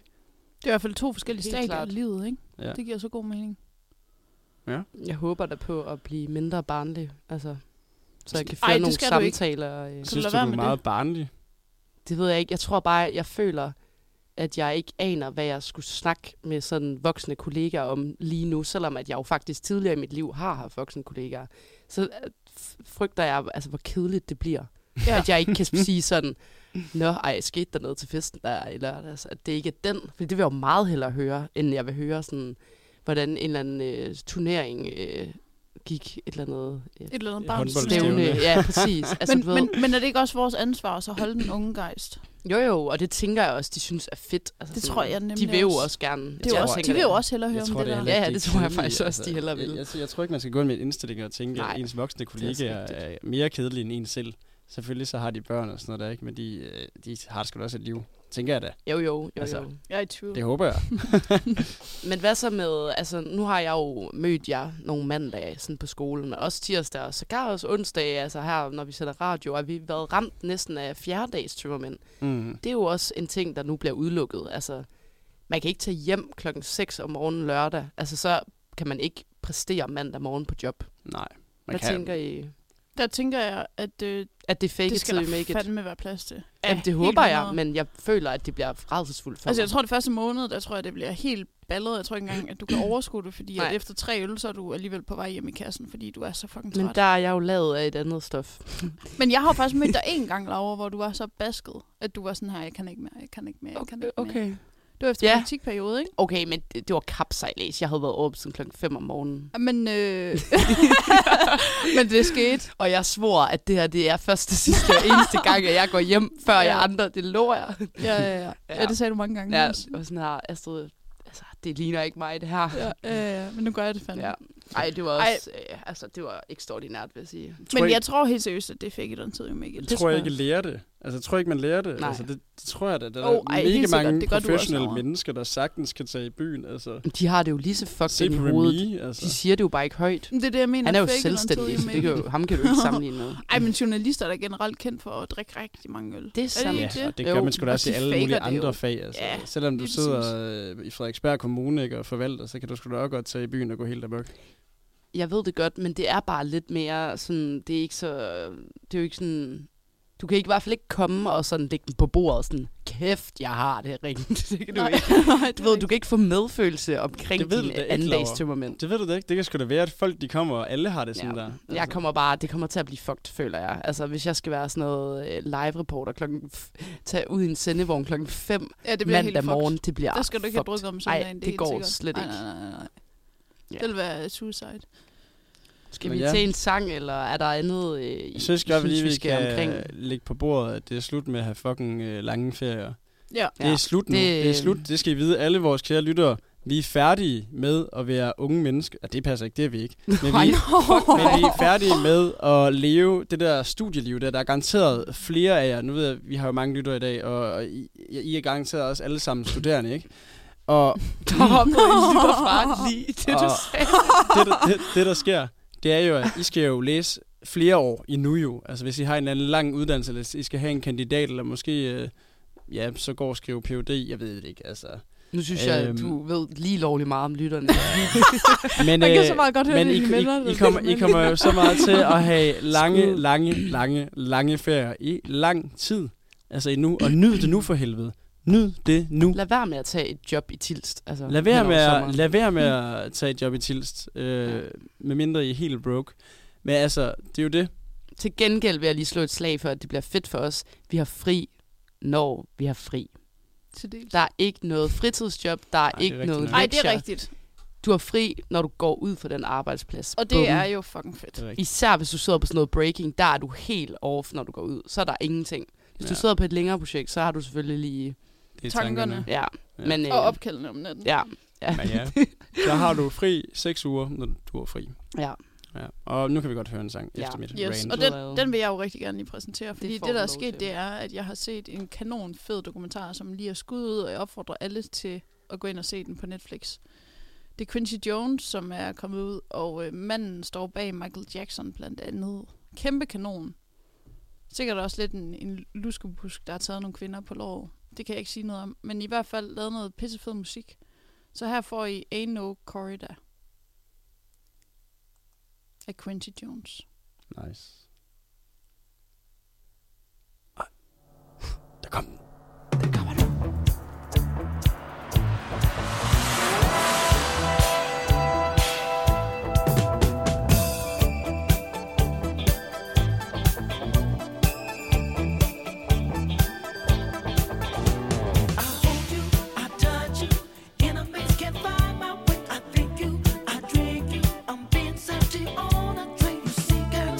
S3: Det er i hvert fald to forskellige
S4: Helt
S3: stadier
S4: klart.
S3: i livet, ikke?
S2: Ja.
S3: Det giver så god mening.
S4: Jeg håber da på at blive mindre barnlig, altså, så jeg kan
S3: Ej,
S4: føre
S3: det
S4: nogle
S3: skal du ikke.
S4: samtaler. øh.
S2: Jeg
S3: lade
S2: synes, du, du
S3: være
S2: er
S3: med
S2: meget det? barnlig.
S4: Det ved jeg ikke. Jeg tror bare, jeg føler, at jeg ikke aner, hvad jeg skulle snakke med sådan voksne kollegaer om lige nu, selvom at jeg jo faktisk tidligere i mit liv har haft voksne kollegaer. Så øh, f- frygter jeg, altså, hvor kedeligt det bliver. Ja. At jeg ikke kan sige sådan, Nå, ej, skete der noget til festen der i lørdags? At det ikke er den. For det vil jeg jo meget hellere høre, end jeg vil høre sådan, hvordan en eller anden øh, turnering øh, gik et eller andet øh,
S3: Et eller andet
S2: Et
S3: barn.
S2: håndboldstævne.
S4: stævne. Ja, præcis. Altså,
S3: men,
S4: du ved-
S3: men, men er det ikke også vores ansvar at så holde den unge gejst?
S4: Jo jo, og det tænker jeg også, de synes er fedt. Altså,
S3: Det tror jeg nemlig
S4: De vil jo
S3: også.
S4: også gerne. Jeg
S3: Det er
S4: tror,
S3: jo også,
S4: tænker,
S3: de vil jo
S4: det-
S3: også hellere høre om det,
S2: er
S3: der.
S4: heller
S2: heller
S4: Ja,
S2: ikke,
S4: det tror jeg
S2: kedeligt,
S4: faktisk også, de hellere vil.
S2: Jeg, jeg, jeg tror ikke, man skal gå ind med et indstilling og tænke,
S4: Nej,
S2: at ens voksne
S4: er også
S2: kollegaer
S4: rigtigt.
S2: er mere kedelige end en selv. Selvfølgelig så har de børn og sådan noget der, ikke? men de, øh, de har sgu da også et liv. Tænker jeg da.
S4: Jo jo, jo,
S2: Altså.
S4: jo.
S3: Jeg er i tvivl.
S2: Det håber jeg.
S4: Men hvad så med, altså nu har jeg jo mødt jer nogle mandage sådan på skolen, men også tirsdag og sågar også onsdag, altså her, når vi sender radio, har vi været ramt næsten af fjerdedags tømmermænd.
S2: Mm.
S4: Det er jo også en ting, der nu bliver udelukket. Altså, man kan ikke tage hjem klokken 6 om morgenen lørdag. Altså, så kan man ikke præstere mandag morgen på job.
S2: Nej. Man
S4: Hvad
S2: kan.
S4: tænker I?
S3: Der tænker jeg, at øh,
S4: At det fake
S3: det
S4: it
S3: skal
S4: till you
S3: der
S4: make it?
S3: fandme være plads til.
S4: Jamen, det
S3: helt
S4: håber jeg,
S3: 100.
S4: men jeg føler, at det bliver rædselsfuldt for
S3: Altså,
S4: mig.
S3: jeg tror, det første måned, der tror jeg, det bliver helt ballet. Jeg tror ikke engang, at du kan *clears throat* overskue det, fordi
S4: Nej.
S3: at efter tre øl, så er du alligevel på vej hjem i kassen, fordi du er så fucking træt.
S4: Men
S3: Men,
S4: der er jeg jo lavet af et andet stof.
S3: Men jeg har jo faktisk mødt dig en gang, Laura, hvor du var så basket, at du var sådan her, jeg kan ikke mere, jeg kan ikke mere, jeg kan ikke mere. Det var efter
S4: Ja.
S3: ja. praktikperiode, ikke?
S4: Okay, men det, det var kapsejlæs. Jeg havde været åben siden klokken 5 om morgenen.
S3: Men, øh... *laughs* Men det skete.
S4: Og jeg svor, at det her det er første, sidste og eneste gang, at jeg går hjem, før
S3: Ja. Mm.
S4: jeg andre. Det lover jeg.
S3: Ja, ja, ja. ja, det sagde du mange gange.
S4: Ja,
S3: også.
S4: og sådan her, Astrid, altså, det ligner ikke mig, det her.
S3: ja, ja, ja. Men nu gør jeg det fandme.
S4: Ja. Ej, det var også, øh, altså, det var ekstraordinært, vil jeg sige.
S2: Tror
S3: Men
S2: ikke-
S3: jeg tror helt seriøst, at det fik et tid, jo, Mikkel.
S2: Jeg
S4: Det
S2: tror jeg
S4: tror
S2: ikke lærer det. Altså, jeg tror ikke, man lærer det.
S4: Nej.
S2: Altså, det, det tror jeg da. Der
S3: Jo,
S2: er
S3: ej, helt
S2: mega
S3: sikkert.
S2: mange
S3: Det gør du også,
S2: professionelle
S3: Laura.
S2: mennesker, der sagtens kan tage i byen. Altså,
S4: De har det jo lige så fucked
S2: se
S4: ind i
S2: på
S4: hovedet.
S2: Remy.
S4: De
S2: Altså.
S4: siger det jo bare ikke højt.
S3: Men Det er det, jeg mener.
S4: Han er jo
S3: fake it until
S4: selvstændig,
S3: you
S4: så det
S3: make
S4: kan
S3: it.
S4: jo, ham kan du *laughs* ikke sammenligne med.
S3: Ej, men journalister er da generelt kendt for at drikke rigtig mange øl.
S4: Det er
S3: det
S4: sandt.
S3: ikke
S2: Ja, og det
S4: Jo,
S2: gør man sgu da
S3: og
S2: også i
S3: de
S2: alle
S3: faker
S2: mulige
S3: det jo.
S2: andre fag. Altså.
S3: Ja,
S2: Selvom du
S3: lige
S2: sidder øh, i Frederiksberg Kommune ikke, og forvalter, så kan du sgu da også godt tage i byen og gå helt amok.
S4: Jeg ved det godt, men det er bare lidt mere sådan, det er ikke så, det er jo ikke sådan, du kan ikke i hvert fald ikke komme og sådan lægge den på bordet og sådan, kæft, jeg har det rigtigt. *laughs* Det kan du ikke.
S3: Nej,
S4: Du ved, du kan ikke få medfølelse omkring
S2: Det ved
S4: din
S2: du da ikke,
S4: andagstømmermænd.
S2: Det ved du da ikke. Det kan sgu da være, at folk de kommer, og alle har det sådan
S4: Ja.
S2: der. Altså.
S4: Jeg kommer bare, det kommer til at blive fucked, føler jeg. Altså, hvis jeg skal være sådan noget øh, live-reporter, klokken f- tage ud i en sendevogn klokken 5
S3: Ja, det bliver helt
S4: mandag
S3: fucked.
S4: morgen, det bliver
S3: Der skal du ikke have
S4: fucked.
S3: drukket om
S4: Ej,
S3: søndagen.
S4: det
S3: er helt
S4: går
S3: sikkert.
S4: slet
S3: Nej,
S4: ikke.
S3: Nej, nej, nej.
S4: Ja.
S3: Det vil være suicide.
S4: Skal
S2: Men
S4: vi
S2: ja.
S4: til en sang, eller er der andet, øh, I
S2: Jeg synes godt,
S4: synes,
S2: lige, vi
S4: vi skal
S2: kan
S4: omkring?
S2: omkring. lægge på bordet, at det er slut med at have fucking øh, lange ferier.
S3: Ja.
S2: Ja. Det er slut nu.
S4: Det-
S2: Det... det er slut. Det skal I vide, alle vores kære lyttere. Vi er færdige med at være unge mennesker. Ja, det passer ikke, det er vi
S4: *laughs*
S2: ikke. Men vi,
S4: Ej,
S2: men vi
S4: *laughs*
S2: er færdige med at leve det der studieliv der. Der er garanteret flere af jer. Nu ved jeg, vi har jo mange lyttere i dag, og, og I, I er garanteret også alle sammen studerende, ikke? Og
S4: Der hoppede
S2: *laughs*
S4: en lytter fra lige *laughs* det, du
S2: Og-
S4: sagde.
S2: *laughs* det, der- det, det, der sker, det er jo, at I skal jo læse flere år endnu jo. Altså hvis I har en eller anden lang uddannelse, eller I skal have en kandidat, eller måske, øh, ja, så går og skrive PhD, jeg ved det ikke, altså.
S4: Nu synes jeg,
S2: Øhm.
S4: du ved lige lovlig meget
S2: *laughs*
S4: om lytterne.
S2: Men, øh,
S3: Man kan så meget godt høre
S2: men
S3: det,
S2: I,
S3: de melder,
S2: I, I,
S3: det
S2: kommer,
S3: er
S2: I kommer jo så meget til at
S3: *laughs*
S2: have lange,
S4: Skud.
S2: lange, lange, lange ferier i lang tid. Altså endnu, og nyd det nu for helvede. Nyd det nu.
S4: Lad være med at tage et job i Tilst. Altså,
S2: Lad være,
S4: hen
S2: med
S4: over
S2: at,
S4: sommeren.
S2: lad være med
S3: Mm.
S2: at tage et job i Tilst, øh, med mindre I er helt broke. Men altså, det er jo det.
S4: Til gengæld vil jeg lige slå et slag for, at det bliver fedt for os. Vi har fri, når vi har fri.
S3: Til dels.
S4: Der er ikke noget fritidsjob, der er
S2: det er
S4: ikke
S2: rigtigt
S4: noget
S2: nok.
S3: Ej, det er
S4: lektier.
S3: rigtigt.
S4: Du har fri, når du går ud fra den arbejdsplads.
S3: Og det
S4: Bum.
S3: er jo fucking fedt.
S2: Det er rigtigt.
S4: Især hvis du sidder på sådan noget breaking, der er du helt off, når du går ud. Så er der ingenting. Hvis ja.
S2: Ja.
S4: du sidder på et længere projekt, så har du selvfølgelig lige...
S2: Det er
S3: Tankerne.
S2: tankerne.
S4: Ja,
S2: Ja.
S4: men... øh,
S3: Og opkaldene om natten.
S4: Ja, ja.
S2: Men ja, *laughs* der har du fri seks uger, når du er fri.
S4: ja.
S2: Ja. Og nu kan vi godt høre en sang
S4: Ja.
S2: efter mit
S3: Yes,
S2: rant.
S3: og
S4: Wow.
S3: den, den vil jeg jo rigtig gerne lige præsentere, fordi det,
S4: får
S3: det
S4: du
S3: der er
S4: lov
S3: sket,
S4: til.
S3: det er, at jeg har set en kanon fed dokumentar, som lige er skudt ud, og jeg opfordrer alle til at gå ind og se den på Netflix. Det er Quincy Jones, som er kommet ud, og øh, manden står bag Michael Jackson blandt andet. Kæmpe kanon. Sikkert også lidt en, en luskebusk, der har taget nogle kvinder på lov. Det kan jeg ikke sige noget om. Men i hvert fald lavet noget pissefed musik. Så her får I Ain't No Corridor af Quincy Jones.
S2: Nice. Ej. Der kom den.
S6: I hold you, I touch you, in a maze can't find my way. I think you, I drink you, I'm being thirsty on a train. You see, girl,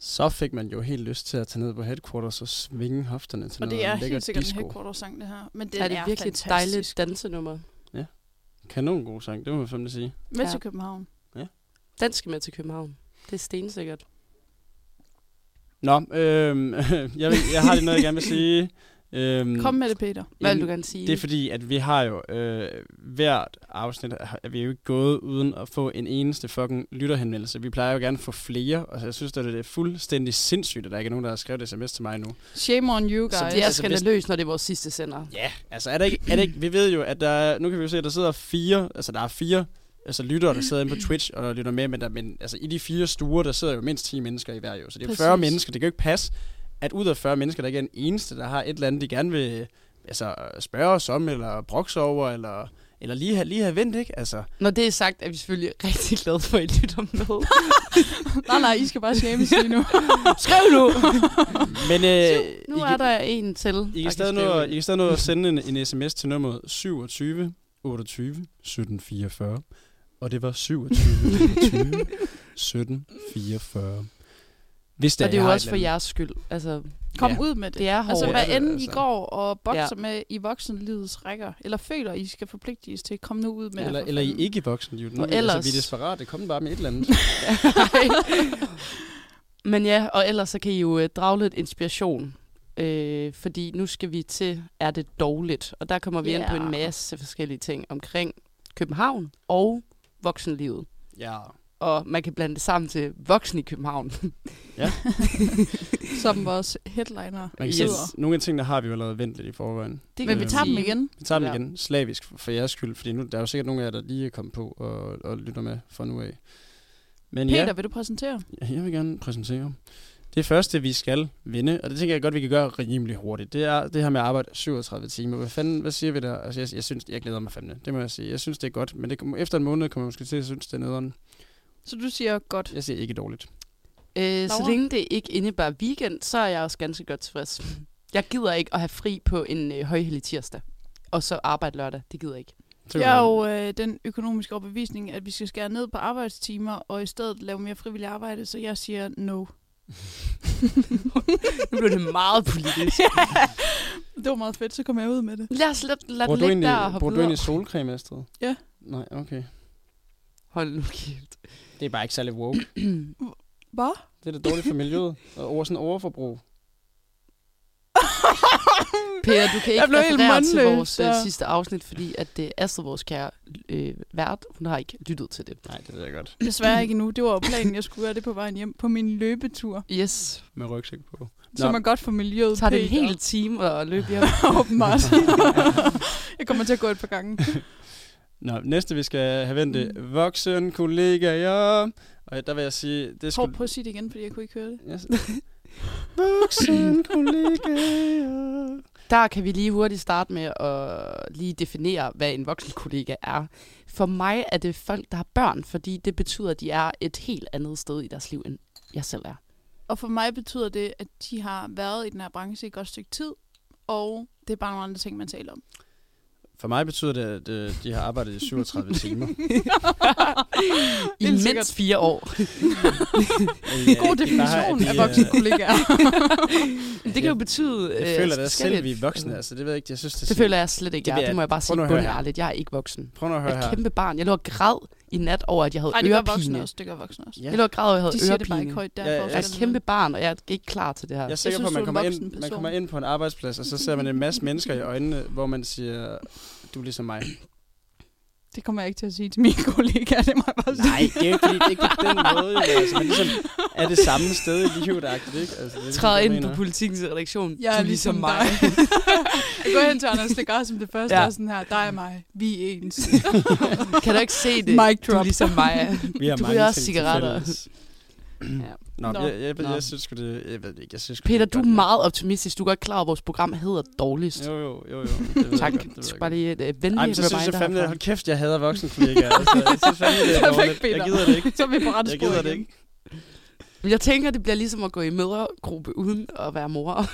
S2: så fik man jo helt lyst til at tage ned på headquarters og svinge hofterne til
S3: Og
S2: noget
S3: det er
S2: lækker
S3: helt sikkert en
S2: disco.
S3: headquarter-sang, det her. Men den
S4: er det virkelig et dejligt dansenummer?
S2: Kanon god sang, det må man fandme sige.
S3: Med
S4: Ja.
S3: til København.
S4: Den skal med til København. Det er stensikkert.
S2: Nå, øhm, *laughs* jeg, vil, jeg har lige noget, jeg gerne vil sige. Øhm,
S3: Kom med det, Peter.
S4: Hvad vil
S2: Jamen,
S4: du gerne sige?
S2: Det er fordi, at vi har jo øh, hvert afsnit, har- er vi jo ikke gået uden at få en eneste fucking lytterhenvendelse. Vi plejer jo gerne at få flere, og jeg synes, at det er fuldstændig sindssygt, at der ikke er nogen, der har skrevet sms til mig nu.
S3: Shame on you
S4: Så
S3: guys.
S4: det er
S2: altså, hvis-
S4: skandaløst, når det er vores sidste sender.
S2: Ja, altså er der ikke, er der ikke vi ved jo, at der, er- nu kan vi jo se, at der sidder fire, altså der er fire altså lyttere, der sidder inde
S4: *clears throat*
S2: på Twitch og der lytter med, men, der, men altså, i de fire stuer, der sidder jo mindst 10 mennesker i hver jo, så det er jo 40
S3: Præcis.
S2: mennesker, det kan jo ikke passe, at ud af 40 mennesker, der ikke er en eneste, der har et eller andet, de gerne vil altså, spørge os om, eller brokse over, eller, eller lige, have, lige have vendt, ikke? Altså,
S4: Når det er sagt, er vi selvfølgelig *laughs* rigtig glade for, at I lytter med.
S3: *laughs* nej, nej, I skal bare
S4: *laughs*
S3: shames lige
S2: *laughs*
S3: nu.
S4: *laughs* Skriv nu!
S2: men
S4: *laughs*
S2: øh,
S4: nu
S2: I,
S4: er
S2: kan,
S4: der en til.
S2: I,
S4: der
S2: kan stadig
S4: skrive
S2: nå,
S4: ind.
S2: I kan stadig nå at sende en, en sms til nummeret 27 28 17 44, og det var 27 28 17 44. Hvis der
S4: Og det er
S2: har
S4: jo
S2: et
S4: også for
S2: eller andet-
S4: jeres skyld. Altså,
S3: Kom
S2: Ja.
S3: ud med det.
S4: det er hårdt.
S3: Altså,
S2: Ja,
S3: hvad
S2: det er
S3: end
S2: det
S3: I
S2: altså.
S3: går og bokser
S4: Ja.
S3: med i voksenlivets rækker, eller føler, I skal forpligtes til, kom nu ud med
S2: Eller,
S3: det. for
S2: eller I
S3: fanden.
S2: ikke voksen, jo. Nu,
S4: Og
S2: altså,
S4: ellers-
S2: vi er desperate. Kom bare med et eller andet.
S4: *laughs* Men ja, og ellers så kan I jo øh, drage lidt inspiration. Øh, fordi nu skal vi til Er det dårligt? Og der kommer vi yeah. ind på en
S3: Ja.
S4: masse forskellige ting omkring København og voksenlivet.
S2: ja.
S4: Og man kan blande det sammen til voksen i København.
S3: Som vores headliner
S2: Man kan
S4: Yes.
S2: yes.
S3: sidder.
S2: se, nogle af tingene har vi jo allerede vendt lidt i forvejen. Øhm,
S4: Det
S3: Men vi tager dem igen.
S2: Vi tager dem
S4: Ja.
S2: igen, slavisk, for- for jeres skyld, fordi nu, der er jo sikkert nogle af jer, der lige er kommet på og, og lytter med fra nu af. Men ja,
S3: Peter, vil du præsentere?
S2: Ja, Jeg vil gerne præsentere. Det første, vi skal vinde, og det tænker jeg godt, vi kan gøre rimelig hurtigt, det er det her med at arbejde 37 timer. Hvad, fanden, hvad siger vi der? Altså, jeg, jeg, synes, jeg glæder mig fandme. Det må jeg sige. Jeg synes, det er godt, men det, kommer- efter en måned kommer jeg måske til at synes, det er nederen.
S3: Så du siger godt.
S2: Jeg siger ikke dårligt.
S4: Øh, så
S3: Laura?
S4: længe det ikke indebærer weekend, så er jeg også ganske godt tilfreds. Jeg gider ikke at have fri på en øh, højhelig tirsdag. Og så arbejde lørdag. Det gider jeg ikke.
S2: Så
S3: Jeg er jo øh, den økonomiske overbevisning, at vi skal skære ned på arbejdstimer, og i stedet lave mere frivilligt arbejde, så jeg siger no.
S4: *laughs* Nu blev det meget
S3: *laughs*
S4: politisk.
S3: Det var meget fedt, så kom jeg ud med det.
S4: Lad os lad, lad
S2: bruger du
S4: den ligge der og
S2: egentlig,
S4: hoppe
S2: bruger du
S4: videre.
S2: egentlig solcreme, Astrid?
S3: Ja.
S2: Nej, okay.
S4: Hold nu kæft.
S2: Det er bare ikke særlig
S4: *clears throat*
S2: woke.
S3: Hvad?
S2: Det er da dårligt for miljøet. Og over sådan overforbrug.
S4: *laughs* Peter, du kan ikke
S3: Jeg blev helt
S4: referere til
S3: mundløs
S4: vores øh,
S3: der.
S4: sidste afsnit, fordi at øh, Astrid, vores kære øh, vært, hun har ikke lyttet til det.
S2: Nej, det ved jeg godt.
S3: Desværre ikke endnu. Det var jo planen, jeg skulle gøre det på vejen hjem på min løbetur.
S4: Yes.
S2: Med rygsæk på.
S3: Som er godt for miljøet.
S4: Så har det en
S3: Peter.
S4: hel time at løbe hjem.
S3: *laughs* Åbenbart.
S4: *laughs*
S3: jeg kommer til at gå et par gange.
S2: Nå, næste vi skal have vendt det. er Voksen kollegaer. Og der vil jeg sige, det
S3: Prøv
S2: skulle...
S3: på at sige det igen, fordi jeg kunne ikke høre det.
S2: Yes. Voksen kollegaer.
S4: Der kan vi lige hurtigt starte med at lige definere, hvad en voksen kollega er. For mig er det folk, der har børn, fordi det betyder, at de er et helt andet sted i deres liv, end jeg selv
S3: *laughs*
S4: er.
S3: Og for mig betyder det, at de har været i den her branche i et godt stykke tid, og det er bare nogle andre ting, man taler om.
S2: For mig betyder det, at øh, de har arbejdet i 37 timer.
S4: I
S3: Helt sikkert.
S4: mindst fire år.
S3: God definition
S2: øh,
S3: af
S2: *laughs*
S3: voksenkollegaer.
S4: Men det kan jo betyde...
S2: Jeg
S4: øh,
S2: føler da selv, at vi
S4: forskelligt.
S2: er voksne. Altså, det ved jeg ikke. Jeg synes, det,
S4: Det føler jeg slet ikke,
S2: Det
S4: jeg
S2: vil
S4: er. Det
S2: jeg-
S4: må jeg bare
S2: Prøv nu
S4: sige
S2: at høre her.
S4: bundærligt. Jeg er ikke voksen.
S2: Prøv nu at
S4: Jeg
S2: høre
S4: er et
S2: her.
S4: kæmpe barn. Jeg lå og græd i nat over, at jeg havde
S3: Nej, det gør voksne
S4: ørepine.
S3: også. Det gør voksne også.
S2: Ja.
S4: Jeg lå og græd, og jeg havde
S3: De siger det bare ikke
S4: ørepine. Altså,
S3: højt der.
S2: Ja,
S3: Ja,
S2: ja.
S4: Jeg er et kæmpe barn, og jeg er ikke klar til det her.
S2: Jeg er sikker
S3: synes,
S2: på, at man
S3: du er en
S2: kommer,
S3: voksen
S2: ind, man
S3: person.
S2: kommer ind på en arbejdsplads, og så ser man en masse mennesker i øjnene, hvor man siger, du er ligesom mig.
S3: Det kommer jeg ikke til at sige til mine *laughs* kollegaer, det må jeg bare sige.
S2: Nej, det er jo ikke, fordi- det er ikke på den måde. Jo. Altså, man ligesom er det samme sted i livet, ikke? Altså, det er ligesom,
S4: Træder
S2: jeg
S4: ind
S2: mener.
S4: på politikens redaktion.
S3: Jeg
S4: du
S3: er ligesom mig.
S4: *laughs*
S3: jeg går hen til Anders Stegard som det første,
S4: Ja.
S3: ja. og sådan her, dig og mig, vi er ens.
S4: *laughs* Kan du ikke se det?
S3: Mic
S4: Du er
S3: drop.
S4: ligesom
S3: *laughs*
S4: mig.
S2: Vi har
S4: Du
S2: mange
S4: ryger også
S2: ting
S4: cigaretter.
S2: tilfælles.
S4: Ja.
S2: Nå,
S3: Nå.
S2: Nå. Jeg, jeg, jeg,
S4: Nå.
S2: jeg, synes sgu det, jeg ved det ikke, jeg synes sgu
S4: Peter,
S2: det
S4: du er
S2: godt.
S4: meget optimistisk. Du er godt klar over, at vores program hedder Dårligst.
S2: Jo, jo, jo, jo. Det
S4: *laughs*
S2: ved jeg
S4: tak.
S2: godt, det ved jeg
S4: Bare
S2: godt.
S4: lige et øh,
S2: Ej,
S4: venligt
S2: men så synes jeg
S4: reminder
S2: fandme,
S4: herfra.
S2: hold kæft, jeg
S4: *laughs*
S2: hader voksne kollegaer. Altså, jeg synes fandme, det er
S3: Perfekt,
S2: dårligt. Jeg
S3: Peter.
S2: gider det ikke.
S3: Så er vi på rette
S2: Jeg
S3: spor
S2: gider det
S3: igen.
S2: ikke.
S4: Men Jeg tænker, det bliver ligesom at gå i mødregruppe uden at være mor.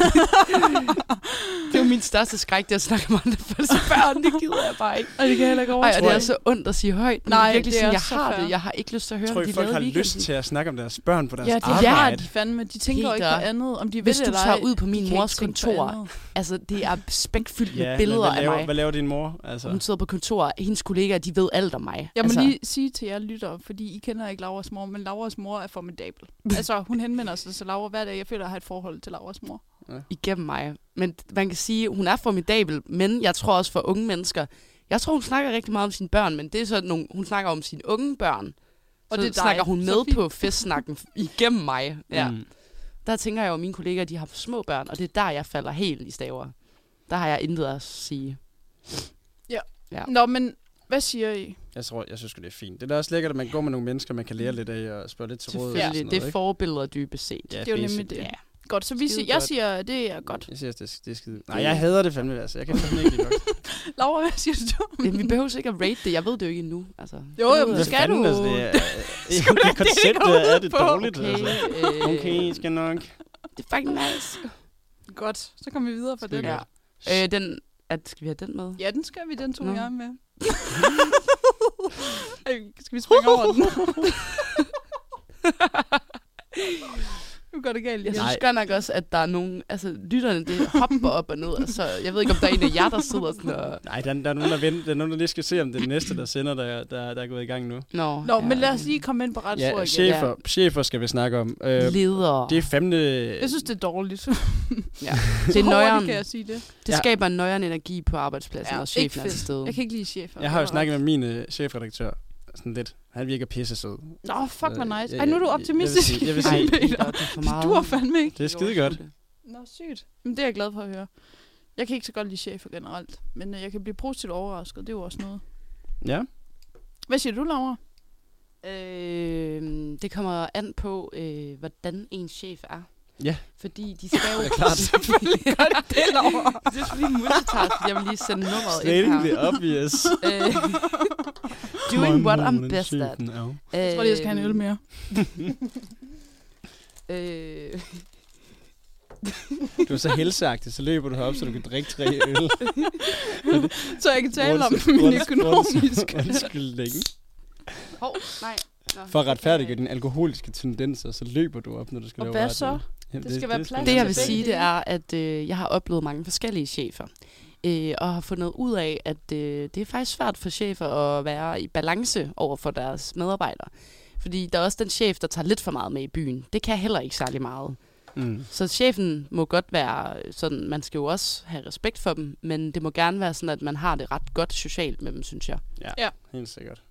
S4: *laughs* det er jo min største skræk, det er at snakke om andre folks børn. Det gider jeg bare ikke.
S3: Og det kan jeg heller ikke
S4: Ej, og det er
S3: overskue.
S4: så ondt at sige højt. Men
S3: Nej,
S4: Nej, virkelig
S3: det er
S4: sådan, jeg
S3: også så
S4: har
S3: fair.
S4: det. Jeg har ikke lyst til at høre,
S2: Tror
S4: om
S2: I,
S4: de
S2: folk
S4: lavede
S2: har
S4: i
S2: lyst
S4: weekenden.
S2: til at snakke om deres børn på deres
S3: Ja, det har
S2: arbejde?
S3: de fandme. De tænker jo ikke på
S4: Peter,
S3: andet, om de vil
S4: Hvis
S3: det
S4: du
S3: eller
S4: tager
S3: ej.
S4: ud på min
S3: de kan
S4: mors
S3: ikke tænke på
S4: kontor,
S3: andet.
S4: altså det er spækfyldt
S2: Ja,
S4: med
S2: men
S4: billeder
S2: hvad
S4: af
S2: laver,
S4: mig.
S2: Hvad laver din mor? Altså,
S4: Hun sidder på kontor, hendes kollegaer, de ved alt om mig.
S3: Jeg må
S4: altså,
S3: altså. lige sige til jer lytter, fordi I kender ikke Lauras mor, men Lauras mor er
S4: *laughs*
S3: formidabel. altså, hun henvender sig til Laura hver dag. Jeg føler, at jeg har et forhold til Lauras mor.
S4: Igennem mig. Men man kan sige, hun er formidabel, men jeg tror også for unge mennesker, jeg tror, hun snakker rigtig meget om sine børn, men det er sådan nogle, hun snakker om sine unge børn.
S3: Og
S4: Og
S3: det er dig.
S4: det snakker
S3: Så
S4: hun med
S3: fint.
S4: på festsnakken *laughs* igennem mig. Ja.
S2: Mm.
S4: Der tænker jeg jo, at mine kollegaer, de har små børn, og det er der, jeg falder helt i staver. Der har jeg intet at sige. Ja.
S3: Nå, men hvad siger I?
S2: Jeg tror, jeg synes sgu, det er fint. Det er da også lækkert, at man går med nogle mennesker, man kan lære lidt af og spørge lidt til råd. og
S4: Selvfølgelig,
S2: sådan
S4: det
S2: noget,
S4: er
S2: ikke?
S4: forbilleder dybest set.
S2: Ja,
S3: Det er jo
S2: basic.
S3: nemlig det.
S4: Ja.
S3: Godt, så vi
S4: Skide
S3: siger, jeg
S4: godt.
S3: siger, at det er godt.
S2: Jeg siger, det, det er skide. Nej, jeg hader det fandme, altså. Jeg kan fandme ikke lide godt.
S3: Laura, hvad siger du?
S4: Men vi behøver ikke at rate det. Jeg ved det jo ikke endnu. Altså,
S3: Jo, jo, men
S2: Hvad
S3: *laughs* skal
S2: fanden,
S3: du?
S2: Altså, det er,
S3: Skulle
S2: det
S3: det ikke
S2: konceptet
S3: gå ud
S2: er det
S3: på?
S2: dårligt, okay. altså.
S4: okay, øh,
S2: Okay, I skal nok.
S4: Det er fucking nice.
S3: *laughs* Godt, så kommer vi videre fra
S2: Skide
S3: den.
S2: godt.
S3: Ja.
S4: Ja. Øh, den, at, skal vi have den med?
S3: ja, den skal vi, den tog
S4: Nå.
S3: jeg
S4: *laughs*
S3: med. Ej, skal vi springe over
S4: *laughs*
S3: den? nu går det galt.
S4: Jeg
S3: igen.
S4: synes godt nok også, at der er nogen... Altså, lytterne, det hopper op og ned. Altså, jeg ved ikke, om der er en af jer, der sidder sådan og...
S2: Nej, der, der, er nogen, der, venter, der er nogen, der lige skal se, om det er den næste, der sender, der, der, der er gået i gang nu.
S4: Nå,
S3: Nå, men lad os lige komme ind på ret
S2: Ja,
S3: igen.
S2: chefer, chefer skal vi snakke om. Øh,
S4: Leder.
S2: det er fandme...
S3: Jeg synes, det er dårligt.
S4: det er nøjeren.
S3: Hurtigt kan jeg sige det.
S4: Det
S2: Ja.
S4: skaber en nøjeren energi på arbejdspladsen,
S3: Ja,
S4: ja, og
S3: ikke
S4: chefen er til
S3: fedt.
S4: stede.
S3: Jeg kan ikke lide chefer.
S2: jeg har jo
S3: generelt.
S2: snakket med min øh, chefredaktør sådan lidt. Han virker pisse sød.
S3: Nå, fuck, hvor
S2: Øh,
S3: nice.
S2: jeg-
S3: Ej, nu er
S2: jeg-
S3: du
S2: jeg vil
S3: optimistisk.
S2: sige- jeg vil
S4: Ej,
S2: sige-
S3: *laughs*
S4: Peter, det er for *laughs* meget.
S3: Du er fandme ikke.
S2: Det er skide godt.
S3: Nå, sygt. Men det er jeg glad for at høre. Jeg kan ikke så godt lide chefer generelt, men øh, jeg kan blive positivt overrasket. Det er jo også noget.
S2: Ja.
S3: Hvad siger du, Laura?
S4: Øh, det kommer an på, øh, hvordan en chef er.
S2: Ja.
S4: Fordi de skal jo...
S2: Det er klart.
S4: *laughs* Selvfølgelig gør
S3: *laughs*
S4: det
S3: det, Laura.
S4: det er fordi multitask. Jeg vil lige sende nummeret ind
S2: Stating the
S4: her.
S2: obvious.
S4: Øh, *laughs* Doing what I'm
S2: Morgen,
S4: best at.
S2: chefen er.
S3: Jeg tror, lige, jeg skal have en øl mere.
S4: Øh,
S2: Du er så helseagtig, så løber du herop, så du kan drikke tre
S3: *laughs*
S2: øl. Øh,
S3: Så jeg kan tale om
S2: Rundt-
S3: min
S2: rundt-
S3: økonomiske. *laughs*
S2: Undskyld længe.
S4: hov, nej. Nå,
S2: For at retfærdiggøre dine alkoholiske tendenser, så løber du op, når du skal
S3: Og
S2: lave
S3: hvad
S2: radio.
S3: så?
S2: Jamen,
S3: Det skal være
S2: sgu-
S3: plads
S4: Det, jeg
S3: til
S4: vil
S3: begge
S4: sige, det
S3: dele.
S4: er, at øh, jeg har oplevet mange forskellige chefer. Øh, og har fundet ud af, at øh, det er faktisk svært for chefer at være i balance over for deres medarbejdere. Fordi der er også den chef, der tager lidt for meget med i byen. Det kan heller ikke særlig meget.
S2: Mm.
S4: Så chefen må godt være sådan, man skal jo også have respekt for dem, men det må gerne være sådan, at man har det ret godt socialt med dem, synes jeg.
S2: Helt sikkert.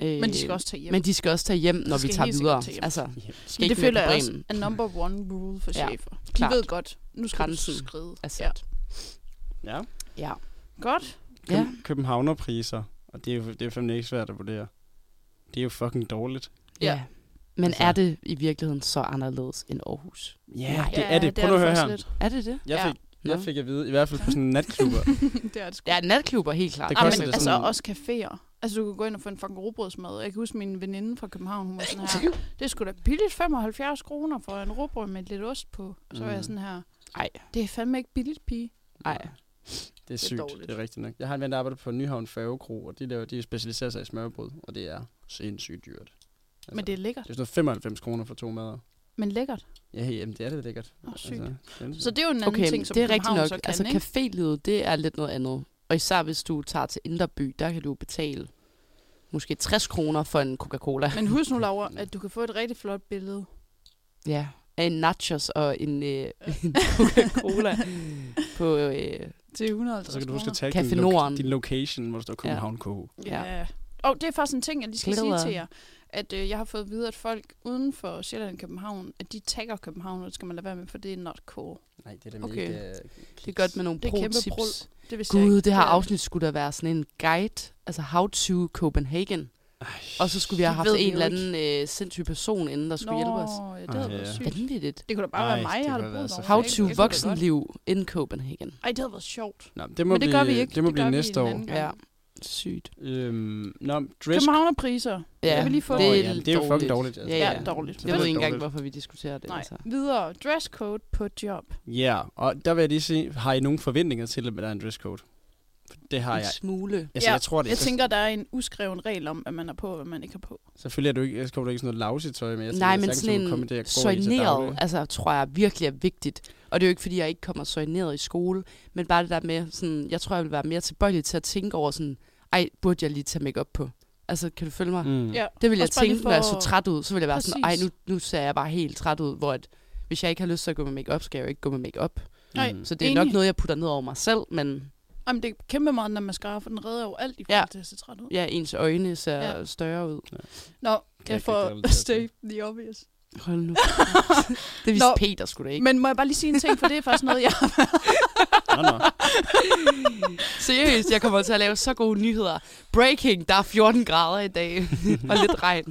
S4: Øh,
S3: Men de skal også tage hjem.
S4: men de skal også tage hjem, når vi
S3: skal
S4: tager
S3: helt sikkert
S4: videre.
S3: tage hjem.
S4: Altså,
S2: Ja.
S4: de skal
S3: Men det
S4: ikke
S3: føler
S4: føler
S3: jeg
S4: med
S3: også
S4: på
S3: er number one rule for
S4: Ja,
S3: chefer. De
S4: klart.
S3: ved godt, nu skal
S4: Grænsen
S3: du skride.
S4: Altså,
S3: Ja.
S4: ja.
S2: ja.
S4: ja.
S3: Godt.
S2: Køb-
S4: Ja.
S2: Københavnerpriser, og det er, jo, det er fandme ikke svært at vurdere. Det er jo fucking dårligt.
S4: Ja.
S3: Ja.
S4: ja. Men
S2: Altså-
S4: altså. er det i virkeligheden så anderledes end Aarhus?
S2: Ja,
S4: Nej.
S2: det er det. Prøv nu at høre her.
S4: Er det det?
S2: Jeg
S3: Ja.
S2: fik, jeg fik at vide, i hvert fald på sådan en natklubber.
S3: *laughs* det er det sgu.
S4: Ja, natklubber helt klart. Ah,
S2: Det
S3: Ej,
S2: koster
S3: men,
S2: det
S3: altså
S2: sådan-
S3: også caféer. Altså, du kan gå ind og få en fucking robrødsmad. Jeg kan huske min veninde fra København, hun var sådan her, det skulle da billigt 75 kroner for en robrød med lidt ost på. Og så var
S2: Mm.
S3: jeg sådan her,
S4: Ej.
S3: det er fandme ikke billigt, pige.
S4: Nej.
S2: Det er sygt, det er,
S3: dårligt.
S2: det er rigtigt nok. Jeg har en ven, der arbejder på Nyhavn Færgekro, og de, laver, de specialiserer sig i smørbrød, og det er sindssygt dyrt. Altså,
S3: Men det er lækkert.
S2: det er sådan noget 95 kroner for to mader.
S3: Men lækkert.
S2: Ja, hey, jamen, det er det lækkert.
S3: Åh, sygt.
S2: Altså- det,
S3: Så det er jo en anden
S4: Okay,
S3: ting, som
S4: det er rigtigt
S3: København
S4: nok.
S3: så kan,
S4: altså,
S3: ikke?
S4: cafélivet, det er lidt noget andet. Og især hvis du tager til Inderby, der kan du betale måske 60 kroner for en Coca-Cola.
S3: Men husk nu, Laura, at du kan få et rigtig flot billede.
S4: Ja. Af *laughs* en nachos og en, øh, *laughs* en Coca-Cola på... Øh,
S3: Til 150
S2: så kan du huske at
S3: kroner.
S2: tage din,
S4: Café
S2: lo-
S4: Norden.
S2: din location, hvor der står København KH.
S4: Ja.
S3: Ja. Og det er faktisk en ting, jeg lige skal sige
S4: Glæder.
S3: til jer. At øh, jeg har fået at vide, at folk uden for Sjælland og København, at de tagger København, og det skal man lade være med, for det er not cool.
S2: Nej, det er da
S4: Okay.
S2: mega...
S4: det er godt med nogle
S3: Det er kæmpe prul.
S4: pro-tips.
S3: Det vidste jeg
S4: Gud,
S3: ikke.
S4: det her
S3: er-
S4: afsnit skulle da være sådan en guide, altså how to Copenhagen. Og så skulle vi have
S3: Det
S4: haft
S3: ved vi
S4: en
S3: jo
S4: eller anden øh, sindssyg person inden, der skulle
S3: Nå,
S4: hjælpe os.
S3: ja, det havde
S2: Ej,
S3: været
S2: ja.
S3: sygt.
S4: Vanvittigt.
S3: Det kunne da bare
S2: Ej,
S3: være mig,
S2: det
S3: jeg havde
S2: kunne have
S3: brugt
S2: været så
S4: How
S2: Jeg
S4: to
S2: kunne da
S4: voksenliv in Copenhagen.
S3: Ej, det havde været sjovt.
S2: Nå, det må
S3: Men det
S2: blive,
S3: gør vi ikke.
S2: Det må
S3: Det
S2: blive
S3: gør vi
S2: næste
S3: en
S2: år.
S3: anden gang.
S4: Ja. Sygt.
S2: Øhm, nå, dress...
S3: Københavnerpriser. Jeg vil lige få-
S2: Åh,
S3: Det er
S2: ja, det er jo fucking dårligt.
S4: Ja,
S2: Altså.
S3: Ja,
S4: ja.
S3: ja dårligt.
S4: Jeg
S2: er
S4: ved
S2: det
S4: ikke engang,
S2: dårligt.
S4: hvorfor vi diskuterer det.
S3: Nej.
S4: Altså.
S3: Videre. Dresscode på job.
S2: Ja, og der vil jeg lige sige, har I nogen forventninger til, at der er en dresscode? For det har
S4: en
S2: jeg.
S4: smule.
S2: Altså,
S3: Ja,
S2: jeg tror det.
S3: Jeg
S2: Så-
S3: tænker, der er en uskreven regel om, hvad man er på, og hvad man ikke er på.
S2: Selvfølgelig er du ikke, jeg kommer du ikke i sådan noget lousy tøj, men jeg
S4: Nej,
S2: tænker,
S4: men
S2: sagtens, du
S4: sådan
S2: kan komme i det, jeg
S4: en
S2: går i til daglig.
S4: soigneret, altså, tror jeg virkelig er vigtigt. Og det er jo ikke, fordi jeg ikke kommer soigneret i skole, men bare det der med, sådan, jeg tror, jeg vil være mere tilbøjelig til at tænke over sådan, ej, burde jeg lige tage make op på? Altså, kan du følge mig? Mm.
S2: Mm.
S3: Ja.
S4: Det ville jeg
S3: Også bare lige
S4: tænke, når jeg
S3: for-
S4: så træt ud, så ville jeg være sådan, ej,
S3: Præcis.
S4: nu, nu ser jeg bare helt træt ud, hvor at, hvis jeg ikke har lyst til at gå med make-up, skal jeg jo ikke gå med make-up.
S3: Nej.
S2: Mm.
S4: Så det er
S3: Enig.
S4: nok noget, jeg putter ned over mig selv, men
S3: Jamen, det er kæmpe meget, når man mascara, for den redder jo alt i
S4: Ja.
S3: forhold til at se træt ud.
S4: ja, ens øjne ser
S3: Ja.
S4: ja. større ud.
S3: Nå, jeg
S2: ikke
S3: får
S2: rigtig
S3: *laughs*
S2: relatere til.
S3: state the obvious.
S4: Hold nu. *laughs* det
S3: Nå.
S4: vidste Peter skulle da ikke.
S3: Men må jeg bare lige sige en ting, for det er faktisk noget, jeg
S4: *laughs*
S2: Nå, nå.
S4: Seriøst, jeg kommer til at lave så gode nyheder. Breaking, der er 14 grader i dag, *laughs* og lidt regn.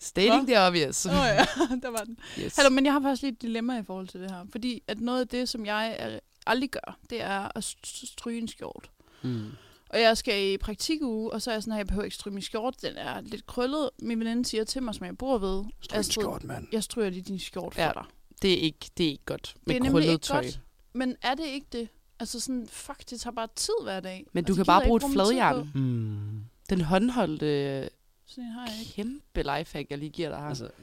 S4: Stating, det er obvious.
S3: Åh oh, ja, *laughs* der var den.
S4: Yes.
S3: Hallo, men jeg har faktisk lidt et dilemma i forhold til det her. Fordi at noget af det, som jeg øh, aldrig gør, det er at st- stryge en skjort.
S2: Mm.
S3: Og jeg skal i praktikuge, og så er jeg sådan her, jeg behøver ikke stryge min skjort. Den er lidt krøllet. Min veninde siger til mig, som jeg bor ved.
S2: Stryk
S3: Astrid,
S2: skjort, mand.
S3: Jeg stryger lige din skjort for
S4: Ja.
S3: dig.
S4: Det, er ikke, det er ikke godt med
S3: Det er nemlig
S4: krøllet
S3: ikke
S4: tøj.
S3: godt. Men er det ikke det? Altså sådan, fuck, det tager bare tid hver dag.
S4: Men
S3: Og
S4: du
S3: det gider
S4: kan bare
S3: jeg
S4: bruge
S3: ikke
S4: et
S3: min tid
S4: fladjern.
S3: på.
S2: Mm.
S4: Den håndholdte, øh,
S3: Sådan en har jeg ikke.
S4: kæmpe lifehack, jeg lige giver dig her.
S2: Altså,
S3: Det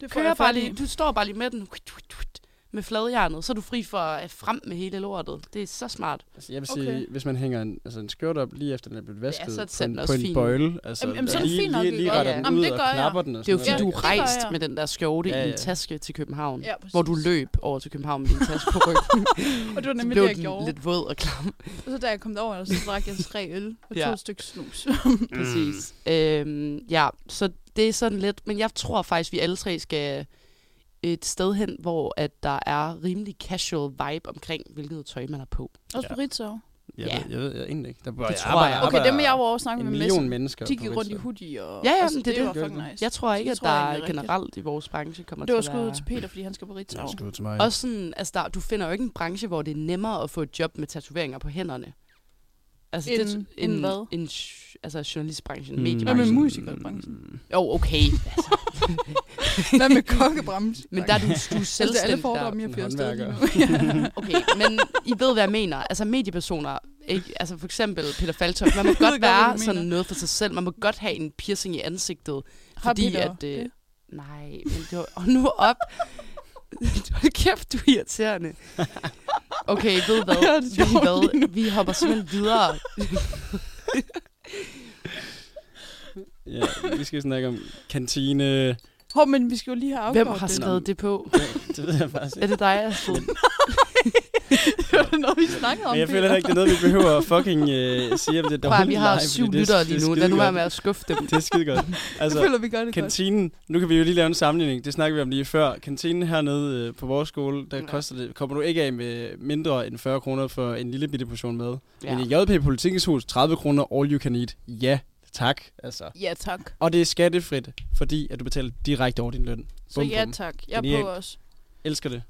S3: får
S4: kører
S3: jeg
S4: bare
S3: fat i.
S4: lige, du står bare lige med den, Kvit, kvit, kvit, med fladjernet, så er du fri for at frem med hele lortet. Det er så smart.
S2: altså, jeg vil
S3: Okay.
S2: sige, okay. hvis man hænger en, altså en skørt op lige efter den er blevet vasket
S4: så er
S2: på
S4: den
S2: en,
S4: også
S2: på en
S4: fin.
S2: bøjle, altså
S3: Jamen, jamen, så er det
S2: lige,
S3: fint nok,
S2: lige, lige
S4: ikke?
S2: retter
S4: Ja.
S2: den
S3: Jamen,
S2: ud
S3: det
S2: og
S3: gør jeg.
S2: knapper den. Og
S4: Det er jo
S2: sådan
S4: fordi,
S3: Ja,
S4: du
S2: noget.
S4: er
S3: det gør
S4: rejst
S3: jeg.
S4: med den der skjorte
S2: Ja,
S4: i
S2: ja.
S4: en taske til København.
S3: Ja,
S4: Hvor du
S3: præcis.
S4: løb over til København med din taske på ryggen.
S3: Og det var
S4: så
S3: *laughs* nemlig
S4: blev
S3: det, jeg
S4: den
S3: gjorde.
S4: lidt våd og klam.
S2: Mm.
S3: Og så da jeg kom derover, så drak jeg tre øl og to
S4: Ja.
S3: stykker snus. *laughs*
S4: Præcis. Øhm, ja, så det er sådan lidt. Men jeg tror faktisk, vi alle tre skal øh, et sted hen, hvor at der er rimelig casual vibe omkring, hvilket tøj man har på.
S3: Også på Ritzau.
S2: Jeg,
S4: Ja.
S2: ved, jeg ved jeg egentlig ikke. Der bør,
S4: Det
S2: jeg
S4: tror
S2: arbejder,
S4: jeg.
S3: Okay,
S2: arbejder
S3: dem vil jeg jo over snakke
S2: en
S3: med
S2: million
S3: Messi.
S2: mennesker.
S3: De
S2: på
S3: gik rundt i
S2: Ritzau.
S3: hoodie, og
S4: Ja, ja,
S3: altså,
S4: men
S3: det,
S4: det er
S3: var
S2: det.
S3: fucking nice.
S4: Jeg tror ikke,
S3: Det
S4: at
S3: tror jeg
S4: der
S3: egentlig er rigtigt.
S4: generelt i vores branche kommer
S3: det var
S4: til at
S3: skud
S4: være...
S3: til Peter, fordi han skal på Ritzau.
S2: Nå, skud til mig.
S4: Også sådan, altså der, du finder jo ikke en branche, hvor det er nemmere at få et job med tatoveringer på hænderne. Altså, det-
S3: End- end hvad?
S4: En, j- altså journalistbranchen,
S2: Mm.
S4: mm.
S3: Hvad med
S4: mediebranchen.
S3: musikerbranchen?
S4: Jo, oh,
S3: *laughs*
S4: okay. Altså.
S3: Hvad med
S2: *laughs*
S3: kokkebranchen?
S4: Men der er du, du er selvstændig.
S3: Altså, det er alle
S4: der.
S3: fordomme, jeg
S2: en
S3: fører afsted lige nu.
S4: Okay, men I ved, hvad jeg mener. Altså mediepersoner, ikke? Altså for eksempel Peter Faltop,
S3: *laughs*
S4: man må
S3: Jeg ved
S4: godt
S3: godt, hvad
S4: være
S3: du
S4: sådan
S3: mener.
S4: noget for sig selv. Man må godt have en piercing i ansigtet.
S3: Har
S4: Fordi
S3: Peter
S4: at... Øh,
S3: det?
S4: nej, men det var... Og nu op. *laughs* Hold kæft, du er irriterende. Okay, ved
S3: *laughs*
S4: I hvad?
S3: Jeg har det
S4: Ved I
S3: sjovt lige nu.
S4: hvad? Vi hopper simpelthen videre.
S2: Ja, vi skal snakke om kantine.
S3: Hov, men vi skal jo lige have afgjort
S4: Hvem har
S3: det.
S4: skrevet det på?
S2: Det ved jeg faktisk
S4: Er det dig, Astrid?
S3: *laughs* Det var da noget, vi snakkede om.
S2: Men jeg
S3: Peter.
S2: føler heller ikke, det er noget, vi behøver at fucking
S3: *laughs*
S2: øh, sige, om det er
S4: Prøv, at,
S2: dårligt
S4: vi har
S2: live,
S4: syv
S2: fordi det er-
S4: lyttere
S2: det er
S4: lige nu. Lad nu
S2: skidegodt.
S4: være med at skuffe dem.
S2: *laughs* Det er skide godt.
S3: Jeg
S2: Altså,
S3: føler, vi gør det godt.
S2: kantinen, nu kan vi jo lige lave en sammenligning, det snakker vi om lige før. Kantinen hernede øh, på vores skole, der
S4: Ja.
S2: koster det, kommer du ikke af med mindre end 40 kroner for en lille bitte portion mad. Ja. Men
S4: Ja.
S2: i JP Politikens Hus, 30 kroner all you can eat. Ja, tak. Altså.
S3: Ja, tak.
S2: Og det er skattefrit, fordi at du betaler direkte over din løn.
S3: Så
S2: Bum,
S3: ja,
S2: bum.
S3: tak. Jeg er på
S2: Genialt.
S3: også.
S2: Elsker det.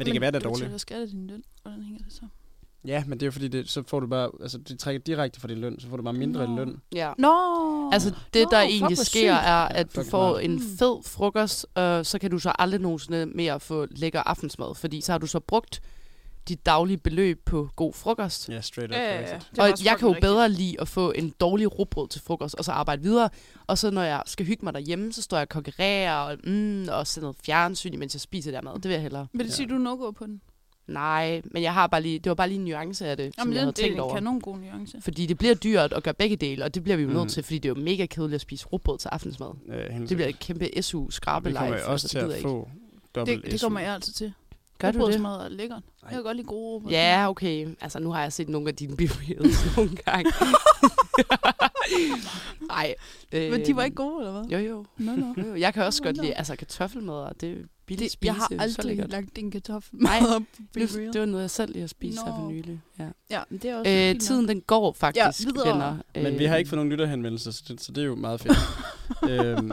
S2: Men det kan være, det er
S3: Du
S2: dårligt.
S3: betaler skat af din løn. Hvordan hænger det så?
S2: Ja, men det er jo fordi, det, så får du bare, altså de trækker direkte fra din løn, så får du bare mindre
S3: Nå.
S2: end løn.
S4: Ja.
S3: Nå!
S4: Altså det, der
S3: Nå, fuck,
S4: Nå, egentlig
S3: hvor
S4: sker,
S3: sygt.
S4: er,
S2: Ja,
S4: at du
S2: fucking
S4: får
S2: meget.
S4: en
S3: Mm.
S4: fed frokost, og så kan du så aldrig nogensinde mere få lækker aftensmad, fordi så har du så brugt dit daglige beløb på god frokost.
S2: Ja, straight up.
S3: Ja, ja,
S2: det er
S3: ja.
S2: rigtigt. Øh,
S3: Det er
S4: Og
S3: også
S4: jeg kan jo
S3: fucking
S4: bedre lide at få en dårlig rugbrød til frokost, og så arbejde videre. Og så når jeg skal hygge mig derhjemme, så står jeg og konkurrerer og, mm, og ser noget fjernsyn, mens jeg spiser der mad. Det vil jeg hellere.
S3: rigtigt. Vil det sige, at du er no-go på den?
S4: Nej, men jeg har bare lige, det var bare lige en nuance af det, Jamen, som
S3: Jamen,
S4: jeg havde
S3: det, det
S4: tænkt
S3: er en
S4: over.
S3: kanon god nuance.
S4: Fordi det bliver dyrt at gøre begge dele, og det bliver vi jo nødt
S2: Mm.
S4: til, fordi det er jo mega kedeligt at spise rugbrød til aftensmad.
S2: Ja, helt
S4: Det bliver
S2: sikkert.
S4: et kæmpe
S2: Og
S4: SU-skrabe
S2: vi
S4: live.
S2: kommer jo også
S3: altså,
S2: til at
S4: Ikke.
S2: få dobbelt
S3: Det, det kommer jeg altid til.
S4: Gør du det?
S3: Rugbrødsmad er lækkert. Jeg kan godt lide gode rugbrød.
S4: Ja, okay. Altså, nu har jeg set nogle af
S3: *laughs*
S4: dine bioreels nogle gange. Nej. Øh,
S3: Men de var ikke gode, eller hvad?
S4: Jo, jo.
S3: Nå,
S4: *laughs*
S3: nå.
S4: jo, jo. Jeg kan også
S3: Nå,
S4: godt
S3: nå.
S4: lide altså, kartoffelmad, og det er billigt
S3: Det,
S4: spise.
S3: jeg har
S4: det er så
S3: aldrig
S4: lækkert.
S3: lagt en kartoffel
S4: Nej,
S3: meget op. Be
S4: det,
S3: real.
S4: det var noget, jeg selv lige har spist her for
S3: Nå.
S4: nylig. Ja.
S3: Ja, men det er også
S4: Øh,
S3: fint nok.
S4: tiden den går faktisk,
S3: videre.
S4: venner.
S2: Men vi har
S3: Øh.
S2: ikke fået nogen lytterhenvendelser, så det, så det er jo meget
S3: *laughs*
S2: fedt. øhm,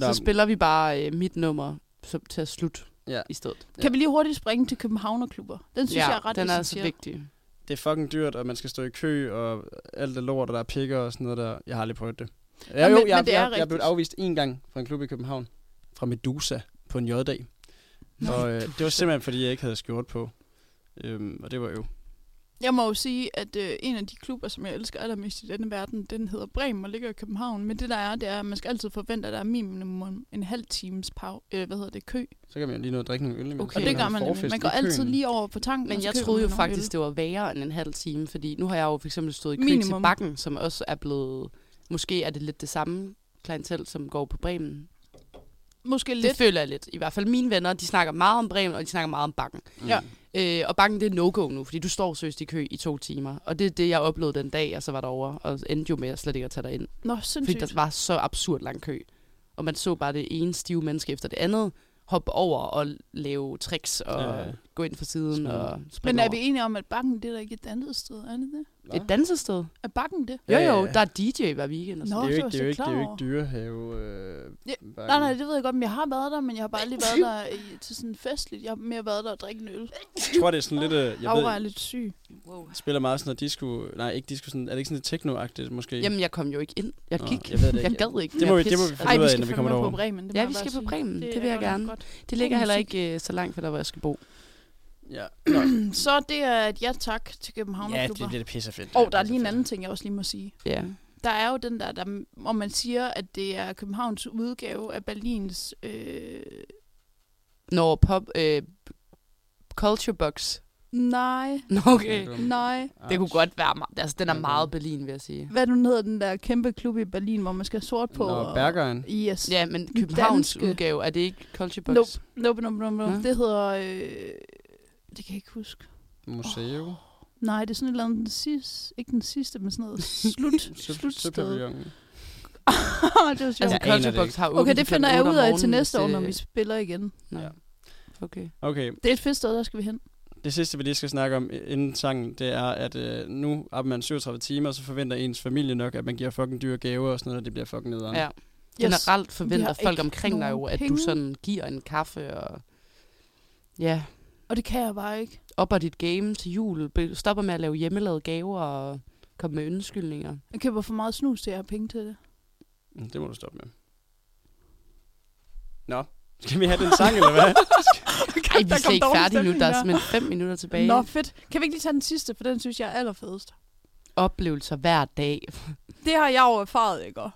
S4: Så spiller vi bare øh, mit nummer så, til at slutte
S2: Ja.
S4: i stedet.
S3: Kan vi lige hurtigt springe til Københavnerklubber? Den synes
S4: ja,
S3: jeg er ret
S4: den er så
S3: essentiel.
S4: vigtig.
S2: det er fucking dyrt, og man skal stå i kø, og alt det lort, og der er pikker og sådan noget der. Jeg har aldrig prøvet det. Ja,
S3: Nå,
S2: jo,
S3: men-
S2: jeg,
S3: men det er
S2: jeg, jeg, jeg blev
S3: rigtigt.
S2: afvist en gang fra en klub i København, fra Medusa, på en J-dag. Og øh, det var simpelthen, fordi jeg ikke havde skjort på. Øhm, og det var jo.
S3: Jeg må jo sige, at øh, en af de klubber, som jeg elsker allermest i denne verden, den hedder Bremen og ligger i København. Men det der er, det er, at man skal altid forvente, at der er minimum en halv times pav, øh, hvad hedder det, kø.
S2: Så kan man jo lige nå at drikke nogle øl. imens.
S4: Okay.
S3: Okay. Og det gør
S2: Holde
S3: man nemlig.
S2: forfest
S3: Man
S2: i
S3: går altid
S2: køen.
S3: lige over på tanken. og
S4: Men
S3: så
S4: jeg
S3: køber
S4: troede jo
S3: man nogle
S4: faktisk, det var værre end en halv time, fordi nu har jeg jo for eksempel stået i kø Minimum. til
S3: Minimum.
S4: Bakken, som også er blevet... Måske er det lidt det samme klientel, som går på Bremen.
S3: øl. Måske
S4: Lidt. Det
S3: lidt.
S4: føler jeg lidt. I hvert fald mine venner, de snakker meget om Bremen, og de snakker meget om Bakken.
S2: Mm.
S3: Ja.
S4: Øh, og Bakken, det er no-go nu, fordi du står søst i kø i to timer. Og det er det, jeg oplevede den dag, jeg så var derovre, og endte jo med at slet ikke at tage dig ind.
S3: Nå,
S4: Fordi
S3: sindssygt.
S4: der var så absurd lang kø. Og man så bare det ene stive menneske efter det andet hoppe over og lave tricks og
S2: Ja, ja.
S4: ja. gå ind for siden
S2: Smide.
S4: og springe
S3: Men er
S4: over.
S3: vi enige om, at bakken det er der ikke et andet sted, er det det?
S4: Et dansested?
S3: Er bakken det?
S4: Jo,
S2: Ja, ja,
S4: jo,
S2: ja.
S4: der er DJ hver weekend. Og
S3: Nå,
S4: sådan.
S2: det er jo ikke,
S3: var
S2: det
S3: jeg
S2: er jo ikke,
S3: slet
S2: det
S3: klar
S2: er jo ikke
S3: over.
S2: dyrehave. Øh,
S3: Ja,
S2: bakken.
S3: Nej, nej, det ved jeg godt, men jeg har været der, men jeg har bare lige været der i, til sådan festligt. Jeg har mere været der og drikke en øl.
S2: Jeg tror, det er sådan lidt... Øh, jeg
S3: Aura er
S2: ved,
S3: lidt syg.
S4: Wow.
S2: spiller meget sådan noget disco... Nej, ikke disco. Sådan, er det ikke sådan lidt techno-agtigt, måske?
S4: Jamen, jeg kom jo ikke ind. Jeg
S2: Nå,
S4: gik.
S2: jeg ved det ikke.
S4: jeg gad ikke.
S2: Det må
S4: jeg
S2: vi- det må vi
S4: pis.
S2: finde ud af, når
S3: fandme
S2: vi kommer
S3: på
S2: derover.
S3: Bremen. Det må
S4: Ja,
S3: jeg
S4: vi
S3: bare
S4: skal på
S3: sige.
S4: Bremen. Det,
S3: er
S4: vil jeg
S3: godt nok
S4: gerne.
S3: Godt.
S4: Det ligger
S3: God
S4: heller
S3: musik.
S4: ikke øh, så langt fra der, hvor jeg skal bo.
S2: Ja,
S3: Mm, Så det er et ja tak til København
S2: ja
S3: ja,
S2: det,
S3: Klubber.
S2: det er pissefedt.
S3: Og der er lige en anden ting, jeg også lige må sige.
S4: Ja.
S3: Der er jo den der, der hvor man siger, at det er Københavns udgave af Berlins... Øh,
S4: Når pop... Øh, culture box.
S3: nej,
S4: Nå, okay.
S3: nej.
S4: Det kunne godt være... ma- Altså, den er
S2: Ja,
S4: meget
S2: det-
S4: Berlin, vil jeg sige.
S3: Hvad nu hedder den der kæmpe klub i Berlin, hvor man skal have sort på?
S2: Nå,
S3: og-
S2: Bergeren.
S3: Yes.
S4: Ja, men Københavns
S3: danske-
S4: udgave, er det ikke culture box?
S3: Nope, nope, nope, nope. nope.
S4: Nå.
S3: Det hedder... Øh, det kan jeg ikke huske.
S2: Museum.
S3: Nej, det er sådan et eller andet den sidste... Ikke den sidste, men sådan
S4: *laughs*
S3: noget slut, *laughs* slutsted.
S2: Søpavillonen.
S3: det var sjovt.
S4: Altså,
S2: Jeg aner
S4: culture
S2: det
S4: box
S2: ikke.
S4: har åbent
S3: okay, det
S4: klokken
S3: finder jeg
S4: otte om
S3: ud af til
S4: morgenen,
S3: næste
S4: hvis,
S3: år, når
S4: øh,
S3: vi spiller igen.
S4: Nå.
S2: Ja.
S4: Okay.
S2: Okay,
S3: Det er et fedt sted, der skal vi hen.
S2: det sidste, vi lige skal snakke om i- inden sangen, det er, at øh, nu arbejder man 37 timer, så forventer ens familie nok, at man giver fucking dyre gaver og sådan noget, og det bliver fucking nederen.
S4: Ja. Generelt forventer
S3: har
S4: folk
S3: ikke
S4: omkring dig
S3: nogen
S4: jo, at du
S3: penge.
S4: sådan giver en kaffe og... Ja,
S3: Og det kan jeg bare ikke.
S4: opper dit game til jul, be- stopper med at lave hjemmelavede gaver og komme med
S3: *laughs*
S4: undskyldninger.
S3: Jeg køber for meget snus til, at jeg har penge til det.
S2: Mm, Det må du stoppe med. Nå, skal vi have den sang, eller
S3: *laughs*
S2: hvad?
S4: Ej, vi er slet ikke færdige nu, der er
S3: simpelthen
S4: simpelthen fem minutter tilbage.
S3: Nå, fedt. Kan vi ikke lige tage den sidste, for den synes jeg er allerfedest.
S4: Oplevelser hver dag.
S3: Det har jeg jo erfaret, ikke? også?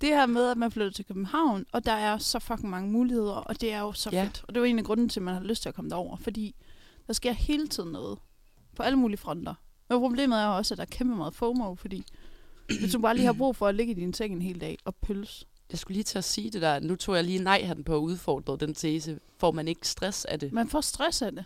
S3: Det her med, at man flytter til København, og der er så fucking mange muligheder, og det er jo så
S4: Ja.
S3: ja. fedt. Og det er jo en af grunden til, at man har lyst til at komme derover, fordi der sker hele tiden noget. På alle mulige fronter. Men problemet er jo også, at der er kæmpe meget FOMO, fordi hvis du bare lige har brug for at ligge i din seng en hel dag og pølse.
S4: Jeg skulle lige til at sige det der. Nu tog jeg lige nej-hatten på og udfordrede den tese. Får man ikke stress af det?
S3: Man får stress af det.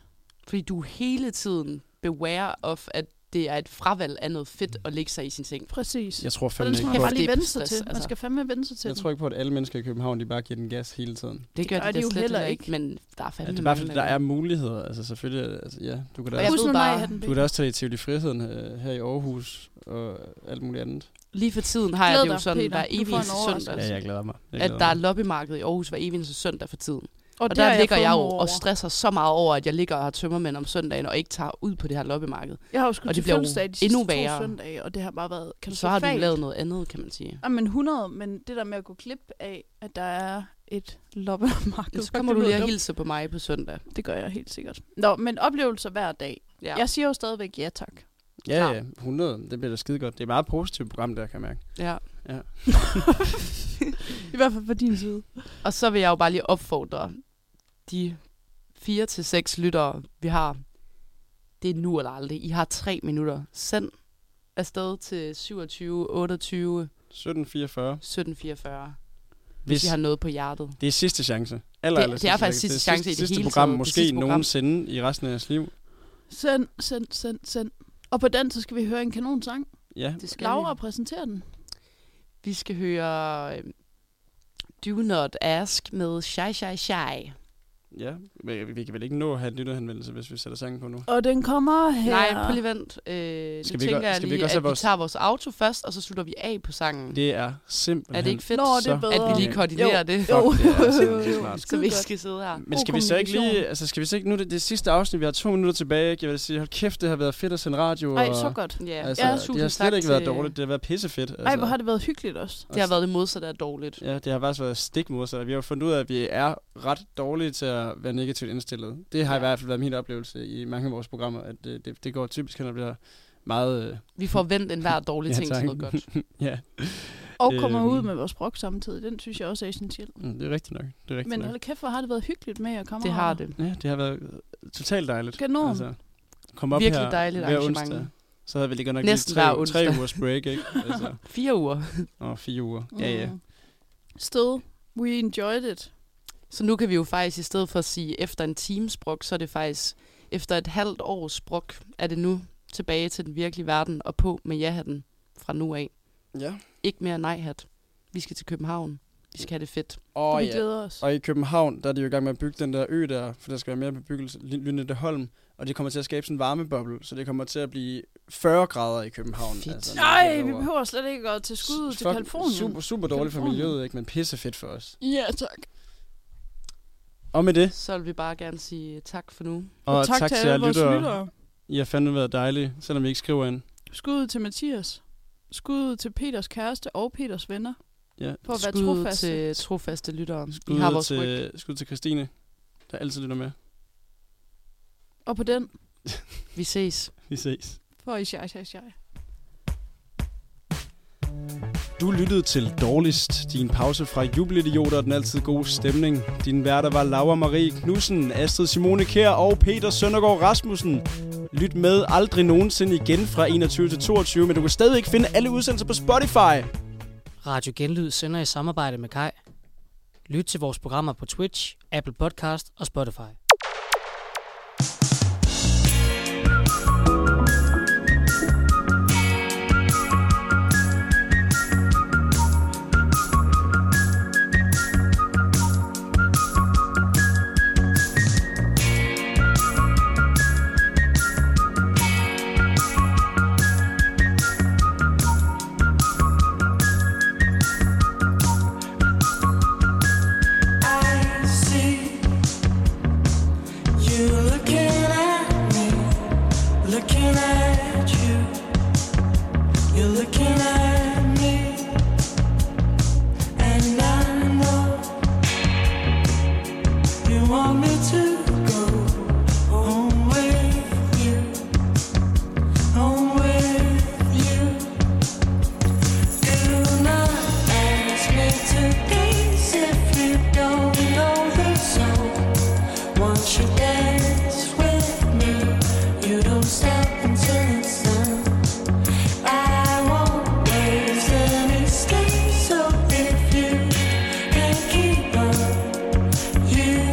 S4: Fordi du er hele tiden beware of, at det er et fravalg af noget fedt at ligge sig i sin seng.
S3: Præcis.
S2: Jeg tror
S3: Og
S2: fandme
S3: den skal
S2: ikke
S3: man
S2: på,
S3: bare
S4: på-
S3: lige
S4: Det er
S3: vende sig
S4: stress,
S3: til. Man
S4: altså.
S3: skal fandme vende sig til
S2: jeg
S3: den.
S2: tror ikke på, at alle mennesker i København, de bare giver den gas hele tiden.
S4: Det gør
S3: gør
S4: de,
S3: de
S4: da
S3: jo
S4: slet
S3: heller
S4: heller ikke.
S3: ikke.
S4: Men der er fandme
S2: Ja, det er bare
S4: mange,
S2: fordi, der er muligheder. Altså selvfølgelig, altså, ja, du kan da også,
S4: Og jeg
S3: Husk
S4: ved
S3: nu
S4: bare-
S3: nej, hatten
S2: du kan da også tage i Tivoli Friheden øh, her i Aarhus og alt muligt andet. Altså,
S4: Lige for tiden har jeg
S3: Glæd
S4: det jo
S3: dig,
S4: sådan,
S3: Peter.
S4: hver
S3: Du
S4: evig
S3: får en
S4: eneste
S3: overraskelse.
S4: søndag,
S2: Ja, jeg glæder mig. Jeg
S4: at
S2: glæder
S4: der er
S2: mig.
S4: loppemarked i Aarhus hver evig eneste søndag for tiden. Og, og
S3: det har
S4: der ligger jeg jo
S3: FOMO over.
S4: og stresser så meget over, at jeg ligger og har tømmermænd om søndagen og ikke tager ud på det her loppemarked.
S3: Jeg har jo sgu
S4: Og
S3: og
S4: det
S3: til
S4: bliver jo
S3: fødselsdag de
S4: endnu
S3: sidste
S4: værre.
S3: to søndage, og det har bare været katastrofalt.
S4: Så har du lavet noget andet, kan man sige.
S3: Jamen 100, Ah, men det der med at gå klip af, at der er et loppemarked.
S4: Så kommer
S3: Det
S4: du lige
S3: lyder
S4: og
S3: dumt.
S4: hilse på mig på søndag.
S3: Det gør jeg helt sikkert. Nå, men oplevelser hver dag.
S4: Ja.
S3: Ja. Jeg siger jo stadigvæk ja tak.
S2: Ja, ja, 100. Det bliver da skide godt. Det er et meget positivt program, der kan jeg mærke.
S4: ja.
S3: I hvert fald på din side.
S4: Og så vil jeg jo bare lige opfordre de fire til seks lyttere, vi har. Det er nu eller aldrig. I har tre minutter. Send afsted til 27, 28,
S2: 1744.
S4: 17, 44, hvis,
S2: Hvis
S4: hvis I har noget på hjertet.
S2: det er sidste chance. Aller,
S4: Det-
S2: aller
S4: det er faktisk sidste chance i det
S2: sidste
S4: hele
S2: program,
S4: taget. Det
S2: måske
S4: sidste program.
S2: nogensinde i resten af jeres liv.
S3: Send, send, send, send. Og på den, så skal vi høre en kanon sang.
S2: Ja,
S4: Det skal
S3: Laura præsenterer den.
S4: Vi skal øhm, høre øh, Do Not Ask med Shy Shy Shy.
S2: Ja, men vi kan vel ikke nå at have en lytterhenvendelse, hvis vi sætter sangen på
S4: Mm.
S2: nu.
S3: Og den kommer her.
S4: Nej, prøv lige vent.
S2: Skal
S4: Øh, skal
S2: vi
S4: nu
S2: ikke-
S4: tænker jeg
S2: skal vi
S4: lige,
S2: ikke også
S4: at
S2: have
S4: vi
S2: vores-
S4: tager vores auto først, og så slutter vi af på sangen. Det,
S2: Det er simpelthen...
S4: er det ikke fedt,
S3: Nå, det
S2: så-
S3: er bedre.
S4: at vi lige
S2: Jo,
S4: koordinerer det?
S2: Fuck, det er
S3: jo,
S2: simpelthen
S3: jo,
S2: så
S3: jo.
S2: smart.
S4: Så vi ikke
S3: godt.
S4: skal sidde her.
S2: Men
S3: God
S2: skal vi så ikke lige,
S3: kommunikation.
S2: altså skal vi så ikke, nu er det, det sidste afsnit, vi har to minutter tilbage, ikke? jeg vil sige, hold kæft, det har været fedt at sende radio,
S3: Ej,
S2: og,
S3: så godt.
S4: Ja,
S2: altså,
S3: Ja,
S2: det har
S4: tusind
S2: slet
S4: tak
S2: ikke været
S4: til-
S2: dårligt, det har været pissefedt. Altså.
S3: Ej, hvor har det været hyggeligt også.
S4: Det har været det modsatte af dårligt.
S2: Ja, det har faktisk været stik modsat. Vi har jo fundet ud af, at vi er ret dårlige til at være negativt indstillet. Det har ja. i
S4: Ja.
S2: hvert fald været min oplevelse i mange af vores programmer, at det, det, det går typisk hen og bliver meget... Øh,
S4: Vi får vendt enhver dårlig
S2: *laughs* Ja,
S4: ting til
S2: tak.
S4: noget godt.
S2: ja,
S3: Og
S4: Øh,
S3: kommer
S2: Øhm.
S3: ud
S4: mm.
S3: med vores brok samtidig. Den synes jeg også er essentiel.
S2: mm, det er rigtigt nok. Det er rigtigt
S3: Men
S2: nok.
S3: hold kæft, hvor har det været hyggeligt med at komme
S4: Det
S3: over.
S4: har det.
S2: Ja, det har været øh, totalt dejligt. Altså,
S3: Kanon.
S2: kom op
S4: Virkelig
S2: her
S4: dejligt
S2: hver
S4: arrangement.
S2: onsdag. Så havde vi lige godt nok
S4: Næsten
S2: lige
S4: hver
S2: tre,
S4: onsdag.
S2: tre ugers break, ikke? Altså,
S4: Fire uger.
S2: og fire uger. Ja, ja.
S3: Mm. Still, we enjoyed it.
S4: Så nu kan vi jo faktisk, i stedet for at sige efter en times brok, så er det faktisk efter et halvt års brok, er det nu tilbage til den virkelige verden og på med ja-hatten fra nu af.
S2: Ja.
S4: Ikke mere nej-hat. Vi skal til København. Vi skal have det fedt.
S3: Oh,
S2: Og,
S3: vi
S2: ja.
S3: glæder os.
S2: og i København, der er de jo i gang med at bygge den der ø der, for der skal være mere bebyggelse, Lynette Holm, og det kommer til at skabe sådan en varmeboble, så det kommer til at blive 40 grader i København.
S4: Fedt.
S3: Nej, vi
S2: derovre.
S3: behøver slet ikke at tage skuddet til
S2: Fuck,
S3: Kalifornien.
S2: Super, super dårligt for
S3: Californien.
S2: miljøet, ikke? men pisse fedt for os.
S3: Ja, tak.
S2: Og med det,
S4: Så vil vi bare gerne sige tak for nu.
S2: og, tak, tak til jer
S3: vores
S2: lyttere. I har fandme været dejlige, selvom I ikke skriver ind.
S3: Skud til Mathias. Skud til Peters kæreste og Peters venner
S2: Ja.
S3: for at være
S4: Skud
S3: trofaste.
S4: til trofaste lyttere. Vi
S2: Skud,
S4: har vores ryg.
S2: til, skud til Christine, der altid lytter med.
S3: Og på den,
S4: Vi ses.
S2: Vi ses.
S3: for i sjej, sjej, sjej.
S2: Du lyttede til Dårligst, din pause fra jubelidioter og den altid gode stemning. Din værter var Laura Marie Knudsen, Astrid Simone Kær og Peter Søndergaard Rasmussen. Lyt med aldrig nogensinde igen fra 21 til 22, men du kan stadigvæk finde alle udsendelser på Spotify.
S1: Radio Genlyd sender i samarbejde med Kai. Lyt til vores programmer på Twitch, Apple Podcast og Spotify.
S6: I see you looking at me, looking at you. You're looking at me, and I know you want me to go home with you, home with you. Do not ask me to dance if you don't know the song. Once you dance with me, you don't stop until it's done. I won't waste any time, so if you can't keep up, you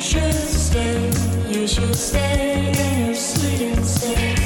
S6: should stay. You should stay in your sweet and safe.